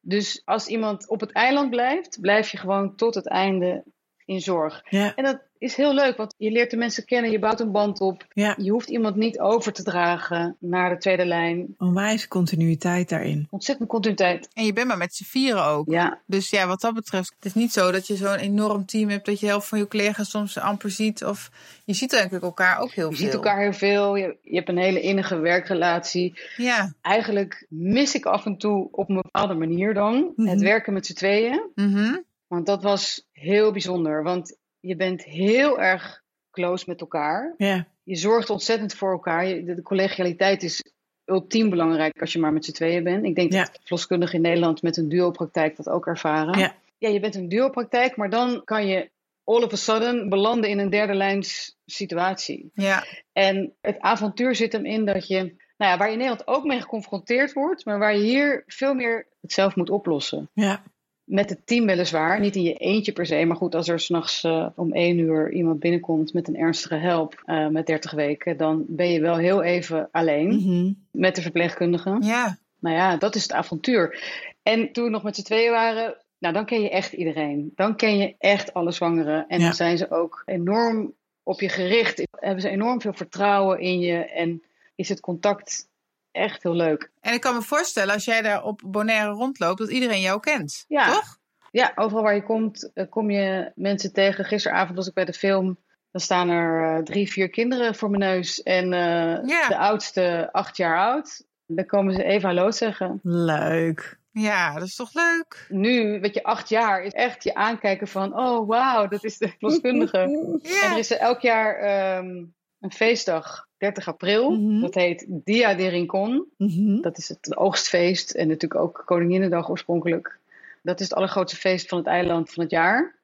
C: dus als iemand op het eiland blijft, blijf je gewoon tot het einde in zorg.
A: Ja,
C: En dat is heel leuk, want je leert de mensen kennen, je bouwt een band op.
A: ja.
C: Je hoeft iemand niet over te dragen naar de tweede lijn.
A: Onwijs continuïteit daarin.
C: Ontzettend continuïteit.
B: En je bent maar met z'n vieren ook.
C: Ja,
B: Dus ja, wat dat betreft, het is niet zo dat je zo'n enorm team hebt dat je de helft van je collega's soms amper ziet. Of je ziet eigenlijk elkaar ook heel
C: je
B: veel.
C: ziet elkaar heel veel. Je, je hebt een hele innige werkrelatie.
B: Ja.
C: Eigenlijk mis ik af en toe op een bepaalde manier dan
A: Mhm.
C: het werken met z'n tweeën.
B: Mhm.
C: Want dat was heel bijzonder. Want je bent heel erg close met elkaar.
A: Ja,
C: Je zorgt ontzettend voor elkaar. Je- De de collegialiteit is ultiem belangrijk als je maar met z'n tweeën bent. Ik denk
A: Ja.
C: dat verloskundigen in Nederland met een duopraktijk dat ook ervaren.
A: Ja.
C: ja, je bent een duopraktijk, maar dan kan je all of a sudden belanden in een derde lijns situatie.
B: Ja.
C: En het avontuur zit hem in dat je, nou ja, waar je in Nederland ook mee geconfronteerd wordt, maar waar je hier veel meer het zelf moet oplossen.
A: ja.
C: Met het team weliswaar, niet in je eentje per se. Maar goed, als er s'nachts eh om één uur iemand binnenkomt met een ernstige help eh, met 30 weken, dan ben je wel heel even alleen
A: Mhm.
C: met de verpleegkundige.
B: Ja.
C: Nou ja, dat is het avontuur. En toen we nog met z'n tweeën waren, nou dan ken je echt iedereen. Dan ken je echt alle zwangeren. En
A: Ja.
C: dan zijn ze ook enorm op je gericht. Hebben ze enorm veel vertrouwen in je. En is het contact echt heel leuk.
B: En ik kan me voorstellen, als jij daar op Bonaire rondloopt, dat iedereen jou kent.
C: Ja.
B: Toch?
C: Ja, overal waar je komt, eh, kom je mensen tegen. Gisteravond was ik bij de film. Dan staan er eh, drie, vier kinderen voor mijn neus. En eh,
B: Ja.
C: de oudste acht jaar oud. Dan komen ze even hallo zeggen.
A: Leuk.
B: Ja, dat is toch leuk?
C: Nu, weet je, acht jaar is echt je aankijken van... Oh, wauw, dat is de verloskundige. En er
B: Ja.
C: is eh, elk jaar ehm, een feestdag, 30 april.
A: Mhm.
C: Dat heet Dia de Rincon.
A: Mhm.
C: Dat is het oogstfeest en natuurlijk ook Koninginnedag oorspronkelijk. Dat is het allergrootste feest van het eiland van het jaar.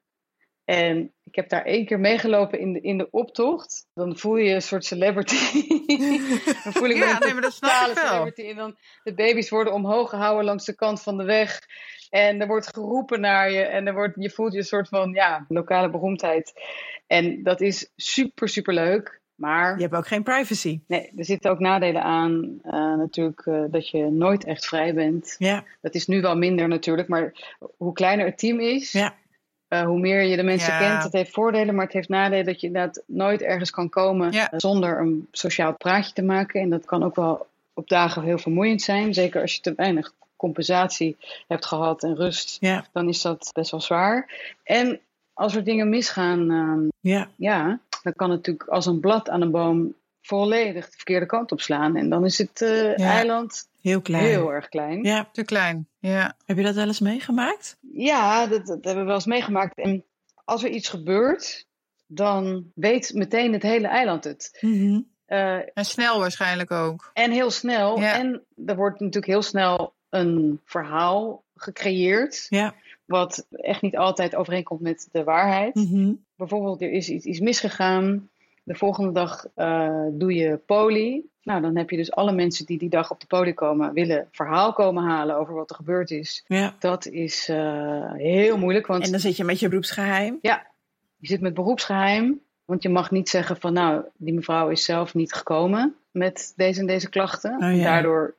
C: En ik heb daar één keer meegelopen in de, in de optocht. Dan voel je je een soort celebrity. dan voel ik me
B: Ja,
C: een
B: nee, maar dat snap
C: totale
B: ik wel.
C: celebrity. En dan de baby's worden omhoog gehouden langs de kant van de weg. En er wordt geroepen naar je. En er wordt, je voelt je een soort van ja, lokale beroemdheid. En dat is super, super leuk. Maar
A: Je hebt ook geen privacy.
C: nee, er zitten ook nadelen aan. eh, natuurlijk eh, dat je nooit echt vrij bent.
A: Ja,
C: Dat is nu wel minder natuurlijk, maar hoe kleiner het team is,
A: ja.
C: eh, hoe meer je de mensen
B: Ja.
C: kent. Het heeft voordelen, maar het heeft nadelen dat je inderdaad nooit ergens kan komen
B: Ja.
C: eh, zonder een sociaal praatje te maken. En dat kan ook wel op dagen heel vermoeiend zijn. Zeker als je te weinig compensatie hebt gehad en rust,
A: Ja,
C: dan is dat best wel zwaar. En als er dingen misgaan, ehm,
A: ja,
C: ja, dan kan het natuurlijk als een blad aan een boom volledig de verkeerde kant op slaan. En dan is het eh,
B: Ja.
C: eiland
A: heel klein.
C: heel erg klein.
A: Ja,
B: Te klein. Ja.
A: heb je dat wel eens meegemaakt?
C: Ja, dat, dat hebben we wel eens meegemaakt. En als er iets gebeurt, dan weet meteen het hele eiland het.
A: Mhm.
C: Eh,
B: En snel waarschijnlijk ook.
C: en heel snel.
B: Ja.
C: En er wordt natuurlijk heel snel een verhaal gecreëerd,
A: Ja.
C: wat echt niet altijd overeenkomt met de waarheid.
A: Mhm.
C: Bijvoorbeeld, er is iets, iets misgegaan. De volgende dag eh, doe je poli. Nou, dan heb je dus alle mensen die die dag op de poli komen, willen verhaal komen halen over wat er gebeurd is.
A: ja.
C: Dat is eh, heel moeilijk, want
A: En dan zit je met je beroepsgeheim.
C: Je zit met beroepsgeheim, want je mag niet zeggen van nou, die mevrouw is zelf niet gekomen met deze en deze klachten.
A: Oh ja.
C: Daardoor,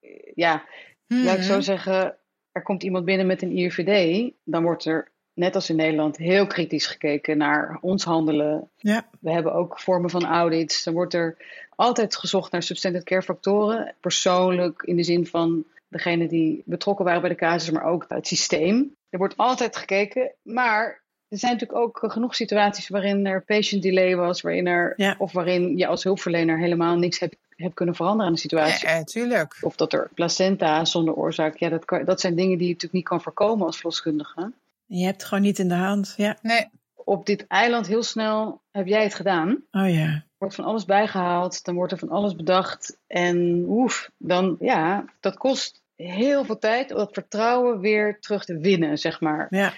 C: eh, ja,
B: Hmm.
C: laat ik
A: Mhm.
C: zo zeggen, er komt iemand binnen met een IUVD, dan wordt er, net als in Nederland, heel kritisch gekeken naar ons handelen.
A: Ja.
C: We hebben ook vormen van audits. Dan wordt er altijd gezocht naar substantive care factoren, persoonlijk in de zin van degene die betrokken waren bij de casus, maar ook het systeem. Er wordt altijd gekeken, maar er zijn natuurlijk ook eh, genoeg situaties waarin er patient delay was, waarin er,
A: Ja.
C: of waarin je als hulpverlener helemaal niks hebt, hebt kunnen veranderen aan de situatie.
B: Ja, eh, tuurlijk.
C: Of dat er placenta zonder oorzaak. Ja, dat, kan, dat zijn dingen die je natuurlijk niet kan voorkomen als verloskundige.
A: Je hebt het gewoon niet in de hand. Ja.
B: Nee.
C: Op dit eiland heel snel heb jij het gedaan. Er
A: Oh ja.
C: wordt van alles bijgehaald. Dan wordt er van alles bedacht. En oef, dan ja, dat kost heel veel tijd om dat vertrouwen weer terug te winnen, zeg maar.
A: Ja.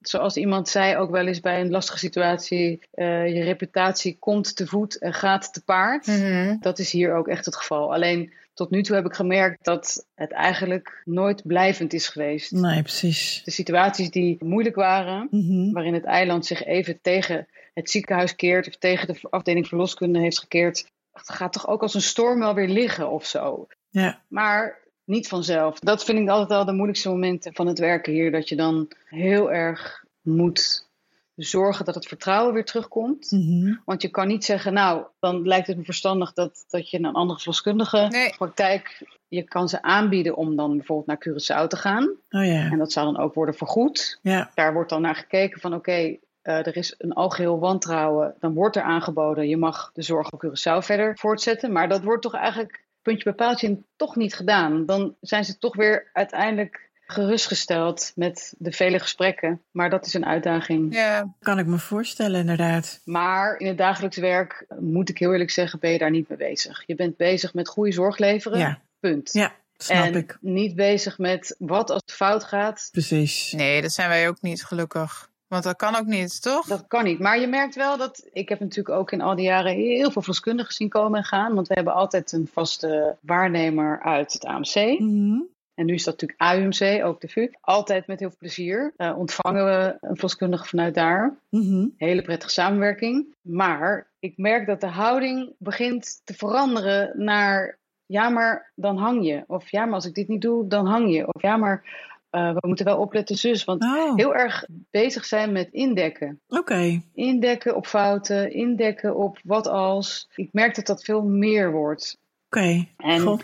C: Zoals iemand zei ook wel eens bij een lastige situatie. eh, je reputatie komt te voet en gaat te paard.
B: Mhm.
C: Dat is hier ook echt het geval. Alleen tot nu toe heb ik gemerkt dat het eigenlijk nooit blijvend is geweest.
A: Nee, precies.
C: De situaties die moeilijk waren,
A: Mhm.
C: waarin het eiland zich even tegen het ziekenhuis keert of tegen de afdeling verloskunde heeft gekeerd, dat gaat toch ook als een storm wel weer liggen of zo.
A: Ja.
C: Maar niet vanzelf. Dat vind ik altijd wel de moeilijkste momenten van het werken hier, dat je dan heel erg moet zorgen dat het vertrouwen weer terugkomt.
A: Mhm.
C: Want je kan niet zeggen, nou, dan lijkt het me verstandig dat, dat je een andere verloskundige
B: Nee.
C: praktijk, je kan ze aanbieden om dan bijvoorbeeld naar Curaçao te gaan.
A: Oh ja.
C: En dat zou dan ook worden vergoed.
A: Ja.
C: Daar wordt dan naar gekeken van, oké, eh, er is een algeheel wantrouwen. Dan wordt er aangeboden, je mag de zorg op Curaçao verder voortzetten. Maar dat wordt toch eigenlijk, puntje bij paaltje, toch niet gedaan. Dan zijn ze toch weer uiteindelijk gerustgesteld met de vele gesprekken. Maar dat is een uitdaging.
B: Ja.
A: Kan ik me voorstellen, inderdaad.
C: Maar in het dagelijks werk, moet ik heel eerlijk zeggen, ben je daar niet mee bezig. Je bent bezig met goede zorg leveren,
A: Ja.
C: punt.
A: Ja. Snap
C: en
A: ik.
C: niet bezig met wat als het fout gaat.
A: Precies.
B: Nee, dat zijn wij ook niet, gelukkig. Want dat kan ook niet, toch?
C: Dat kan niet. Maar je merkt wel dat. Ik heb natuurlijk ook in al die jaren heel veel verloskundigen zien komen en gaan. Want we hebben altijd een vaste waarnemer uit het AMC.
A: Mhm.
C: En nu is dat natuurlijk AUMC, ook de VU. Altijd met heel veel plezier eh, ontvangen we een verloskundige vanuit daar.
A: Mhm.
C: Hele prettige samenwerking. Maar ik merk dat de houding begint te veranderen naar ja, maar dan hang je. Of ja, maar als ik dit niet doe, dan hang je. Of ja, maar eh, we moeten wel opletten, zus. Want
A: Oh,
C: heel erg bezig zijn met indekken.
A: oké.
C: Indekken op fouten, indekken op wat als. Ik merk dat dat veel meer wordt.
A: Oké.
C: En
A: Goh.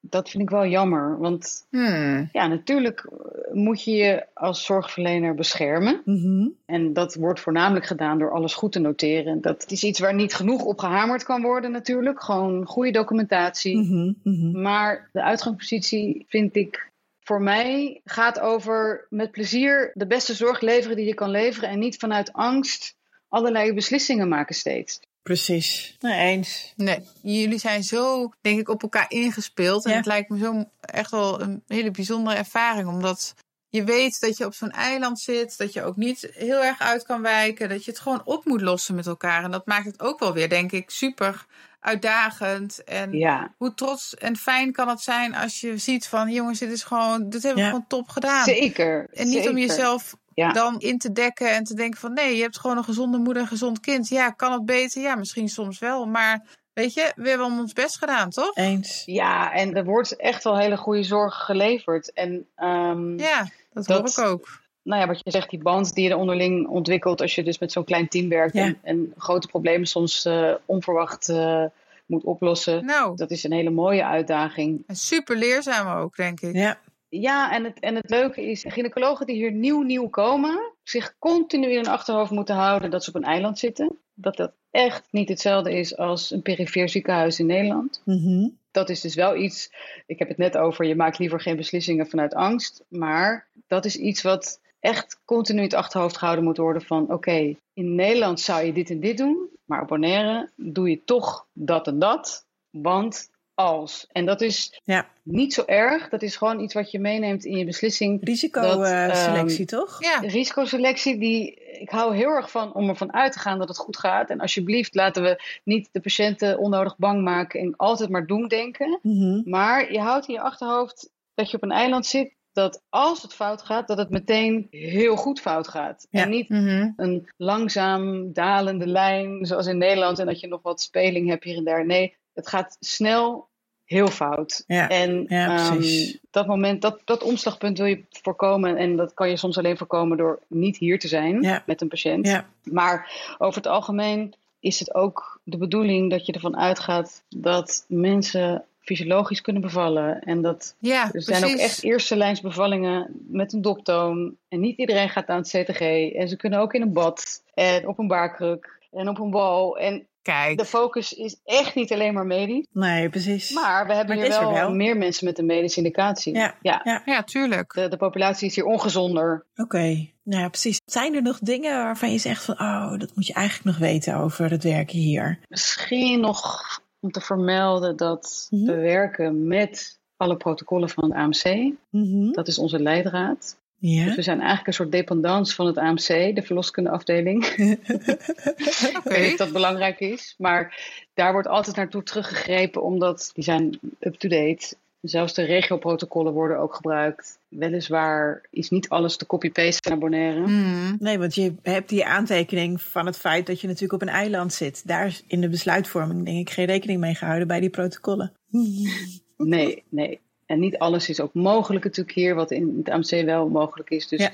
C: dat vind ik wel jammer. Want
B: Hmm.
C: ja, natuurlijk eh, moet je je als zorgverlener beschermen.
A: Mhm.
C: En dat wordt voornamelijk gedaan door alles goed te noteren. Dat is iets waar niet genoeg op gehamerd kan worden natuurlijk. Gewoon goede documentatie.
A: Mhm. Mhm.
C: Maar de uitgangspositie vind ik voor mij gaat over met plezier de beste zorg leveren die je kan leveren. En niet vanuit angst allerlei beslissingen maken steeds.
A: Precies. Nou, eens.
B: Nee, jullie zijn zo, denk ik, op elkaar ingespeeld. En
A: Ja.
B: het lijkt me zo echt wel een hele bijzondere ervaring. Omdat je weet dat je op zo'n eiland zit. Dat je ook niet heel erg uit kan wijken. Dat je het gewoon op moet lossen met elkaar. En dat maakt het ook wel weer, denk ik, super uitdagend. En
C: Ja,
B: hoe trots en fijn kan het zijn als je ziet van... jongens, dit is gewoon, dit hebben
A: Ja.
B: we gewoon top gedaan.
C: zeker.
B: En niet om
C: zeker.
B: jezelf
C: Ja.
B: dan in te dekken en te denken van nee, je hebt gewoon een gezonde moeder en gezond kind. Ja, kan het beter? Ja, misschien soms wel. Maar weet je, we hebben ons best gedaan, toch?
A: Eens.
C: Ja, en er wordt echt wel hele goede zorg geleverd. En ehm,
B: Ja, dat,
C: Dat-
B: hoor ik ook.
C: nou ja, wat je zegt, die band die je er onderling ontwikkelt als je dus met zo'n klein team werkt
A: Ja.
C: en, en grote problemen soms eh, onverwacht eh, moet oplossen.
B: Nou,
C: Dat is een hele mooie uitdaging.
B: en super leerzaam ook, denk ik.
A: Ja,
C: Ja, en het, en het leuke is, de gynaecologen die hier nieuw nieuw komen, zich continu in hun achterhoofd moeten houden dat ze op een eiland zitten. Dat dat echt niet hetzelfde is als een perifeer ziekenhuis in Nederland.
A: Mhm.
C: Dat is dus wel iets, ik heb het net over, je maakt liever geen beslissingen vanuit angst. Maar dat is iets wat echt continu in het achterhoofd gehouden moet worden van oké, in Nederland zou je dit en dit doen, maar op Bonaire doe je toch dat en dat, want als. En dat is
A: Ja.
C: niet zo erg, dat is gewoon iets wat je meeneemt in je beslissing. Dat, ehm,
A: risicoselectie, toch?
B: Ja,
C: Risicoselectie, die, ik hou heel erg van om ervan uit te gaan dat het goed gaat. En alsjeblieft laten we niet de patiënten onnodig bang maken en altijd maar doen denken.
A: Mhm.
C: Maar je houdt in je achterhoofd dat je op een eiland zit dat als het fout gaat, dat het meteen heel goed fout gaat.
A: Ja.
C: En niet
B: Mhm.
C: een langzaam dalende lijn zoals in Nederland en dat je nog wat speling hebt hier en daar. Nee, het gaat snel heel fout.
A: Ja.
C: En
A: Ja,
C: ehm,
A: precies.
C: dat moment, dat, dat omslagpunt wil je voorkomen. En dat kan je soms alleen voorkomen door niet hier te zijn
A: Ja.
C: met een patiënt.
A: ja.
C: Maar over het algemeen is het ook de bedoeling dat je ervan uitgaat dat mensen fysiologisch kunnen bevallen. En dat
B: ja
C: er
B: precies.
C: zijn ook echt eerste lijns bevallingen met een doptoon. En niet iedereen gaat aan het CTG. En ze kunnen ook in een bad en op een baarkruk en op een wal. En
B: Kijk,
C: de focus is echt niet alleen maar medisch.
A: Nee, precies.
C: Maar we hebben
A: Maar
C: hier
A: het is er
C: wel,
A: wel.
C: meer mensen met een medische indicatie.
A: Ja.
B: ja, tuurlijk.
C: De, de populatie is hier ongezonder.
A: Oké, nou ja, precies. Zijn er nog dingen waarvan je zegt van, oh, dat moet je eigenlijk nog weten over het werken hier?
C: Misschien nog om te vermelden dat
A: Mhm.
C: we werken met alle protocollen van het AMC.
A: Mhm.
C: Dat is onze leidraad. Dus
A: Ja.
C: we zijn eigenlijk een soort dependance van het AMC, de verloskundeafdeling. Ik
B: Oké.
C: weet niet of dat belangrijk is, maar daar wordt altijd naartoe teruggegrepen omdat die zijn up-to-date. Zelfs de regioprotocollen worden ook gebruikt. Weliswaar is niet alles te copy-pasten naar Bonaire.
B: Mhm.
A: Nee, want je hebt die aantekening van het feit dat je natuurlijk op een eiland zit. Daar is in de besluitvorming, denk ik, geen rekening mee gehouden bij die protocollen. Mhm.
C: Nee, nee. En niet alles is ook mogelijk natuurlijk hier, wat in het AMC wel mogelijk is. Dus
A: Ja.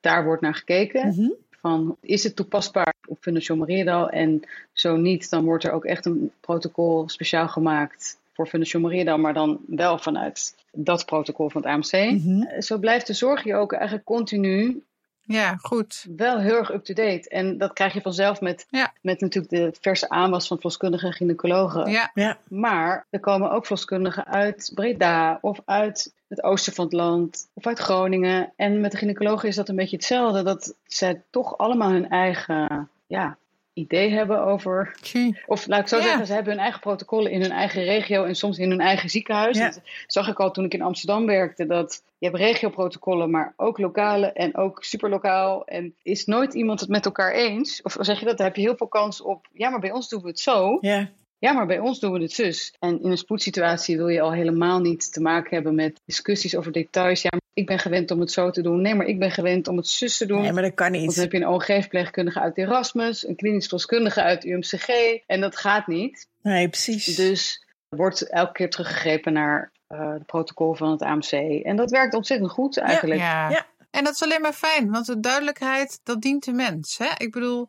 C: daar wordt naar gekeken.
A: Mhm.
C: Van, is het toepasbaar op Fundación Merida? En zo niet, dan wordt er ook echt een protocol speciaal gemaakt voor Fundación Merida, maar dan wel vanuit dat protocol van het AMC.
A: Mhm.
C: Eh, Zo blijft de zorg hier ook eigenlijk continu
B: Ja, goed.
C: wel heel erg up-to-date. En dat krijg je vanzelf met,
B: Ja.
C: met natuurlijk de verse aanwas van verloskundigen en gynaecologen.
B: Ja,
A: Ja,
C: Maar er komen ook verloskundigen uit Breda of uit het oosten van het land of uit Groningen. En met de gynaecologen is dat een beetje hetzelfde. Dat zij toch allemaal hun eigen ja, idee hebben over...
B: tjie.
C: Of laat ik zo
B: Ja.
C: zeggen, ze hebben hun eigen protocollen in hun eigen regio en soms in hun eigen ziekenhuis.
A: Ja.
C: Dat zag ik al toen ik in Amsterdam werkte. Dat je hebt regioprotocollen, maar ook lokale en ook superlokaal. En is nooit iemand het met elkaar eens? Of zeg je dat, dan heb je heel veel kans op... Ja, maar bij ons doen we het zo.
A: ja,
C: Ja, maar bij ons doen we het zus. En in een spoedsituatie wil je al helemaal niet te maken hebben met discussies over details. Ja, maar ik ben gewend om het zo te doen. Nee, maar ik ben gewend om het zus te doen.
A: nee, maar dat kan
C: Want dan
A: niet.
C: heb je een OG-verpleegkundige uit Erasmus, een klinisch verloskundige uit UMCG. En dat gaat niet.
A: Nee, precies.
C: Dus er wordt elke keer teruggegrepen naar eh, het protocol van het AMC. En dat werkt ontzettend goed eigenlijk. Ja,
B: Ja.
A: Ja.
B: En dat is alleen maar fijn, want de duidelijkheid, dat dient de mens. Hè? Ik bedoel,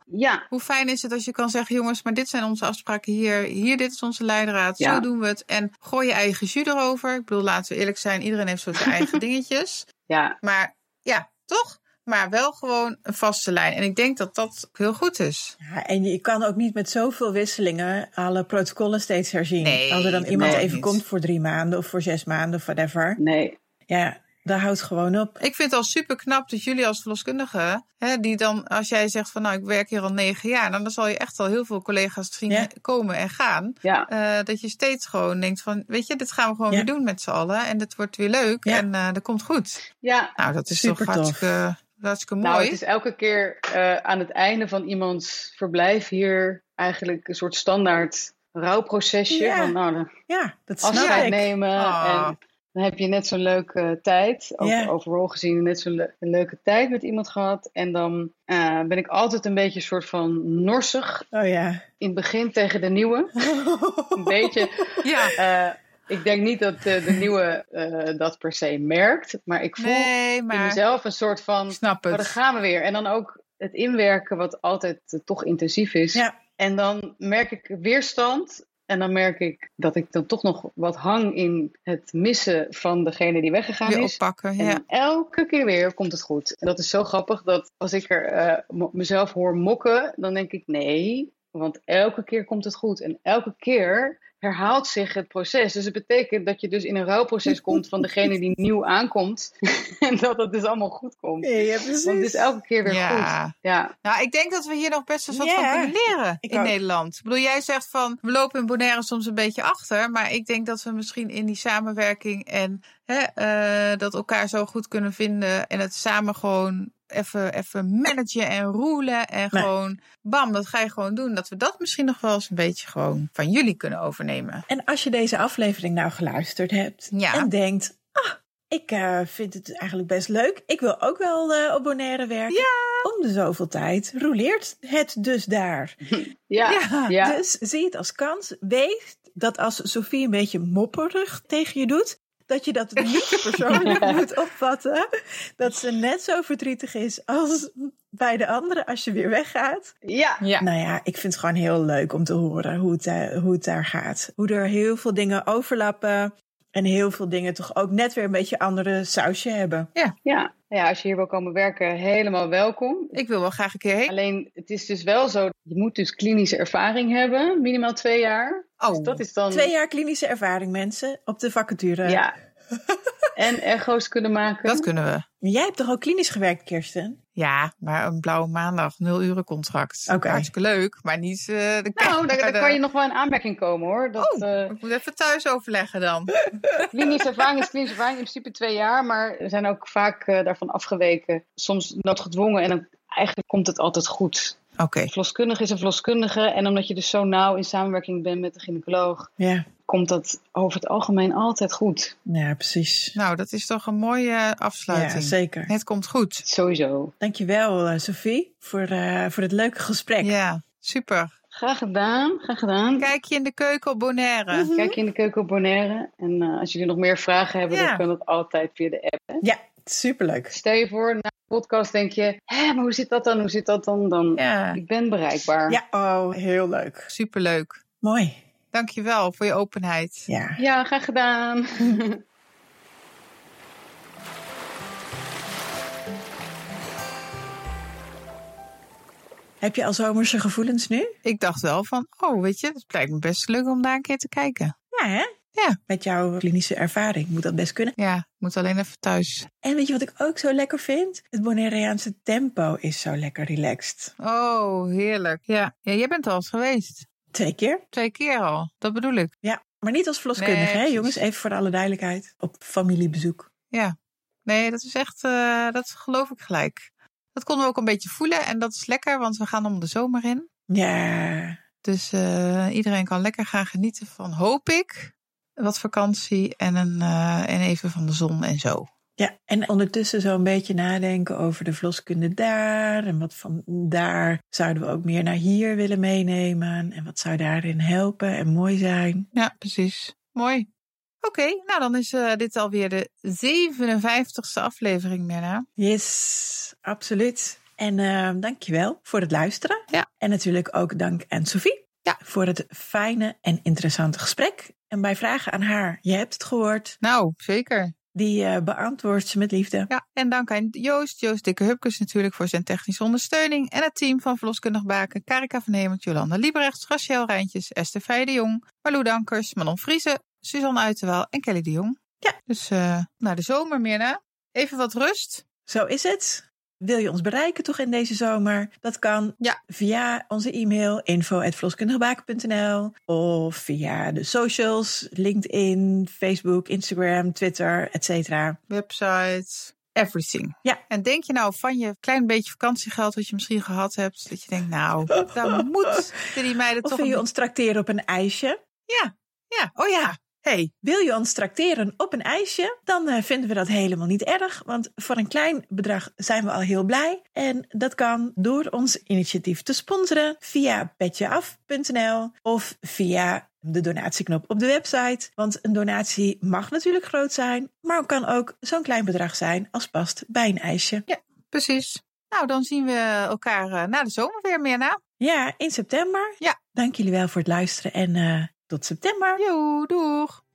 B: Hoe fijn is het als je kan zeggen, jongens, maar dit zijn onze afspraken hier. Hier, dit is onze leidraad.
C: Ja.
B: Zo doen we het. En gooi je eigen jus erover. Ik bedoel, laten we eerlijk zijn. Iedereen heeft zo zijn eigen dingetjes.
C: ja,
B: Maar ja, toch? Maar wel gewoon een vaste lijn. En ik denk dat dat heel goed is.
A: Ja, en je kan ook niet met zoveel wisselingen alle protocollen steeds herzien.
B: Nee,
A: Als er dan
B: dat
A: iemand
B: mag
A: even
B: niet.
A: komt voor drie maanden of voor zes maanden of whatever.
C: nee.
A: Ja, dat houdt gewoon op.
B: Ik vind het al super knap dat jullie als verloskundige, hè, die dan, als jij zegt van nou, ik werk hier al negen jaar, nou, dan zal je echt al heel veel collega's zien
A: Ja.
B: komen en gaan.
C: Ja,
B: Eh, dat je steeds gewoon denkt van, weet je, dit gaan we gewoon
A: Ja.
B: weer doen met z'n allen. En het wordt weer leuk
A: Ja.
B: en eh, dat komt goed.
C: ja.
B: Nou, dat is
A: Supertof.
B: toch hartstikke, hartstikke mooi.
C: Nou, het is elke keer eh, aan het einde van iemands verblijf hier eigenlijk een soort standaard rouwprocesje.
A: Ja.
C: Van, nou, dan
A: Ja, dat snap
C: afscheid
A: ik.
C: nemen
B: Ah.
C: en Dan heb je net zo'n leuke tijd. Ook
A: Ja.
C: overal gezien net zo'n le- een leuke tijd met iemand gehad. En dan eh, ben ik altijd een beetje een soort van norsig.
A: Oh ja.
C: In het begin tegen de nieuwe. Een beetje
B: Ja.
C: eh, ik denk niet dat eh, de nieuwe eh, dat per se merkt. Maar ik voel
B: Nee,
C: in
B: maar
C: mezelf een soort van...
B: ik snap
C: Maar dan
B: het.
C: gaan we weer. En dan ook het inwerken wat altijd eh, toch intensief is.
A: Ja.
C: En dan merk ik weerstand. En dan merk ik dat ik dan toch nog wat hang in het missen van degene die weggegaan
B: Weer
C: is.
B: oppakken.
C: En
B: Ja.
C: dan elke keer weer komt het goed. En dat is zo grappig dat als ik er eh, m- mezelf hoor mokken, dan denk ik nee, want elke keer komt het goed. En elke keer herhaalt zich het proces. Dus het betekent dat je dus in een rouwproces komt van degene die nieuw aankomt. en dat het dus allemaal goed komt.
A: Nee, ja, precies.
C: Want het is elke keer weer goed.
B: Ja.
C: Ja,
B: Nou, ik denk dat we hier nog best wel wat
A: Ja.
B: van kunnen leren
A: Ik
B: in
A: ook.
B: Nederland. Ik bedoel, jij zegt van we lopen in Bonaire soms een beetje achter. Maar ik denk dat we misschien in die samenwerking en hè, eh, dat elkaar zo goed kunnen vinden. En het samen gewoon even, even managen en roelen. En
A: Nee.
B: gewoon bam, dat ga je gewoon doen. Dat we dat misschien nog wel eens een beetje gewoon van jullie kunnen overnemen.
A: En als je deze aflevering nou geluisterd hebt
B: Ja.
A: en denkt, ah, ik eh, vind het eigenlijk best leuk. Ik wil ook wel eh, op Bonaire werken. Om de zoveel tijd roleert het dus daar.
C: ja,
B: Ja,
C: ja.
A: Dus zie het als kans. Weet dat als Sofie een beetje mopperig tegen je doet, dat je dat niet persoonlijk moet opvatten. Dat ze net zo verdrietig is als bij de anderen als je weer weggaat.
C: ja.
B: Ja.
A: Nou ja, ik vind het gewoon heel leuk om te horen hoe het, eh, hoe het daar gaat. Hoe er heel veel dingen overlappen. En heel veel dingen toch ook net weer een beetje andere sausje hebben.
C: Ja. Ja, als je hier wil komen werken, helemaal welkom.
B: Ik wil wel graag een keer heen.
C: Alleen, het is dus wel zo, je moet dus klinische ervaring hebben, minimaal twee jaar.
B: Oh,
C: Dus dat is dan...
A: Twee jaar klinische ervaring, mensen, op de vacature.
C: Ja. en echo's kunnen maken.
B: dat kunnen we.
A: Jij hebt toch ook klinisch gewerkt, Kirsten?
B: Ja, maar een blauwe maandag, nul uren contract.
A: Oké.
B: Hartstikke leuk, maar niet eh, de
C: nou, daar, daar
B: de-
C: kan je nog wel in aanmerking komen hoor. Dat,
B: Oh,
C: eh,
B: ik moet even thuis overleggen dan.
C: klinische ervaring is klinische ervaring, in principe twee jaar, maar we zijn ook vaak eh, daarvan afgeweken. Soms noodgedwongen en dan eigenlijk komt het altijd goed.
B: Oké.
C: Verloskundige is een verloskundige en omdat je dus zo nauw in samenwerking bent met de gynaecoloog,
A: Ja,
C: komt dat over het algemeen altijd goed.
A: ja precies.
B: Nou, dat is toch een mooie
A: Ja,
B: afsluiting.
A: zeker.
B: het komt goed.
C: Sowieso.
A: Dankjewel, eh, Sophie, voor, eh, voor het leuke gesprek.
B: Ja, super.
C: Graag gedaan, graag gedaan.
B: Kijk je in de keuken op Bonaire.
A: Mhm.
C: Kijk je in de keuken op Bonaire. En eh, als jullie nog meer vragen hebben,
B: Ja.
C: dan kan dat altijd via de app.
A: Ja, superleuk.
C: Stel je voor, na de podcast denk je, hé, maar hoe zit dat dan? Hoe zit dat dan? Dan,
B: Ja,
C: ik ben bereikbaar.
A: Ja, oh, heel leuk.
B: superleuk.
A: Mooi.
B: Dankjewel voor je openheid.
A: Ja.
C: Ja, graag gedaan.
A: Heb je al zomerse gevoelens nu?
B: Ik dacht wel van, oh, weet je, het blijkt me best leuk om daar een keer te kijken.
A: Ja, hè?
B: Ja.
A: Met jouw klinische ervaring moet dat best kunnen.
B: Ja, ik moet alleen even thuis.
A: En weet je wat ik ook zo lekker vind? Het Bonaireaanse tempo is zo lekker relaxed.
B: Oh, heerlijk. Ja, ja jij bent al eens geweest.
A: Twee keer.
B: Twee keer al, dat bedoel ik.
A: Ja, maar niet als verloskundige,
B: Nee,
A: hè
B: precies.
A: jongens? Even voor alle duidelijkheid. Op familiebezoek.
B: Ja, nee, dat is echt, eh, dat geloof ik gelijk. Dat konden we ook een beetje voelen en dat is lekker, want we gaan om de zomer in.
A: Ja.
B: Dus eh, iedereen kan lekker gaan genieten van, hoop ik, wat vakantie en, een, eh, en even van de zon en zo.
A: Ja, en ondertussen zo een beetje nadenken over de verloskunde daar. En wat van daar zouden we ook meer naar hier willen meenemen. En wat zou daarin helpen en mooi zijn.
B: Ja, precies. Mooi. Oké, nou dan is eh, dit alweer de 57ste aflevering, Merna.
A: Yes, absoluut. En eh, dankjewel voor het luisteren.
B: Ja.
A: En natuurlijk ook dank aan Sophie
B: Ja.
A: voor het fijne en interessante gesprek. En bij vragen aan haar, je hebt het gehoord,
B: Nou, zeker.
A: die eh, beantwoordt ze met liefde.
B: Ja, en dank aan Joost, Joost Dikke Hupkes natuurlijk voor zijn technische ondersteuning. En het team van Verloskundig Baken, Karika van Hemert, Jolanda Liebrechts, Rachel Rijntjes, Esther Feij de Jong, Marlou Dankers, Manon Vriezen, Suzanne Uitenwaal en Kelly de Jong.
A: Ja.
B: Dus eh, naar de zomer, Mirna. Even wat rust.
A: Zo is het. Wil je ons bereiken toch in deze zomer? Dat kan
B: Ja.
A: via onze e-mail info.verloskundigebaken.nl of via de socials, LinkedIn, Facebook, Instagram, Twitter, et cetera.
B: Websites, everything.
A: Ja.
B: En denk je nou van je klein beetje vakantiegeld dat je misschien gehad hebt, dat je denkt, nou, dan moeten die meiden
A: Of
B: toch...
A: wil je
B: een-
A: ons trakteren op een ijsje?
B: Ja, ja, oh ja.
A: hey, wil je ons tracteren op een ijsje? Dan eh, vinden we dat helemaal niet erg, want voor een klein bedrag zijn we al heel blij. En dat kan door ons initiatief te sponsoren via petjeaf.nl of via de donatieknop op de website. Want een donatie mag natuurlijk groot zijn, maar kan ook zo'n klein bedrag zijn als past bij een ijsje.
B: Precies. Nou, dan zien we elkaar eh, na de zomer weer, Mirna.
A: Ja, in september.
B: Ja.
A: Dank jullie wel voor het luisteren en eh, tot september.
B: Joe, doeg!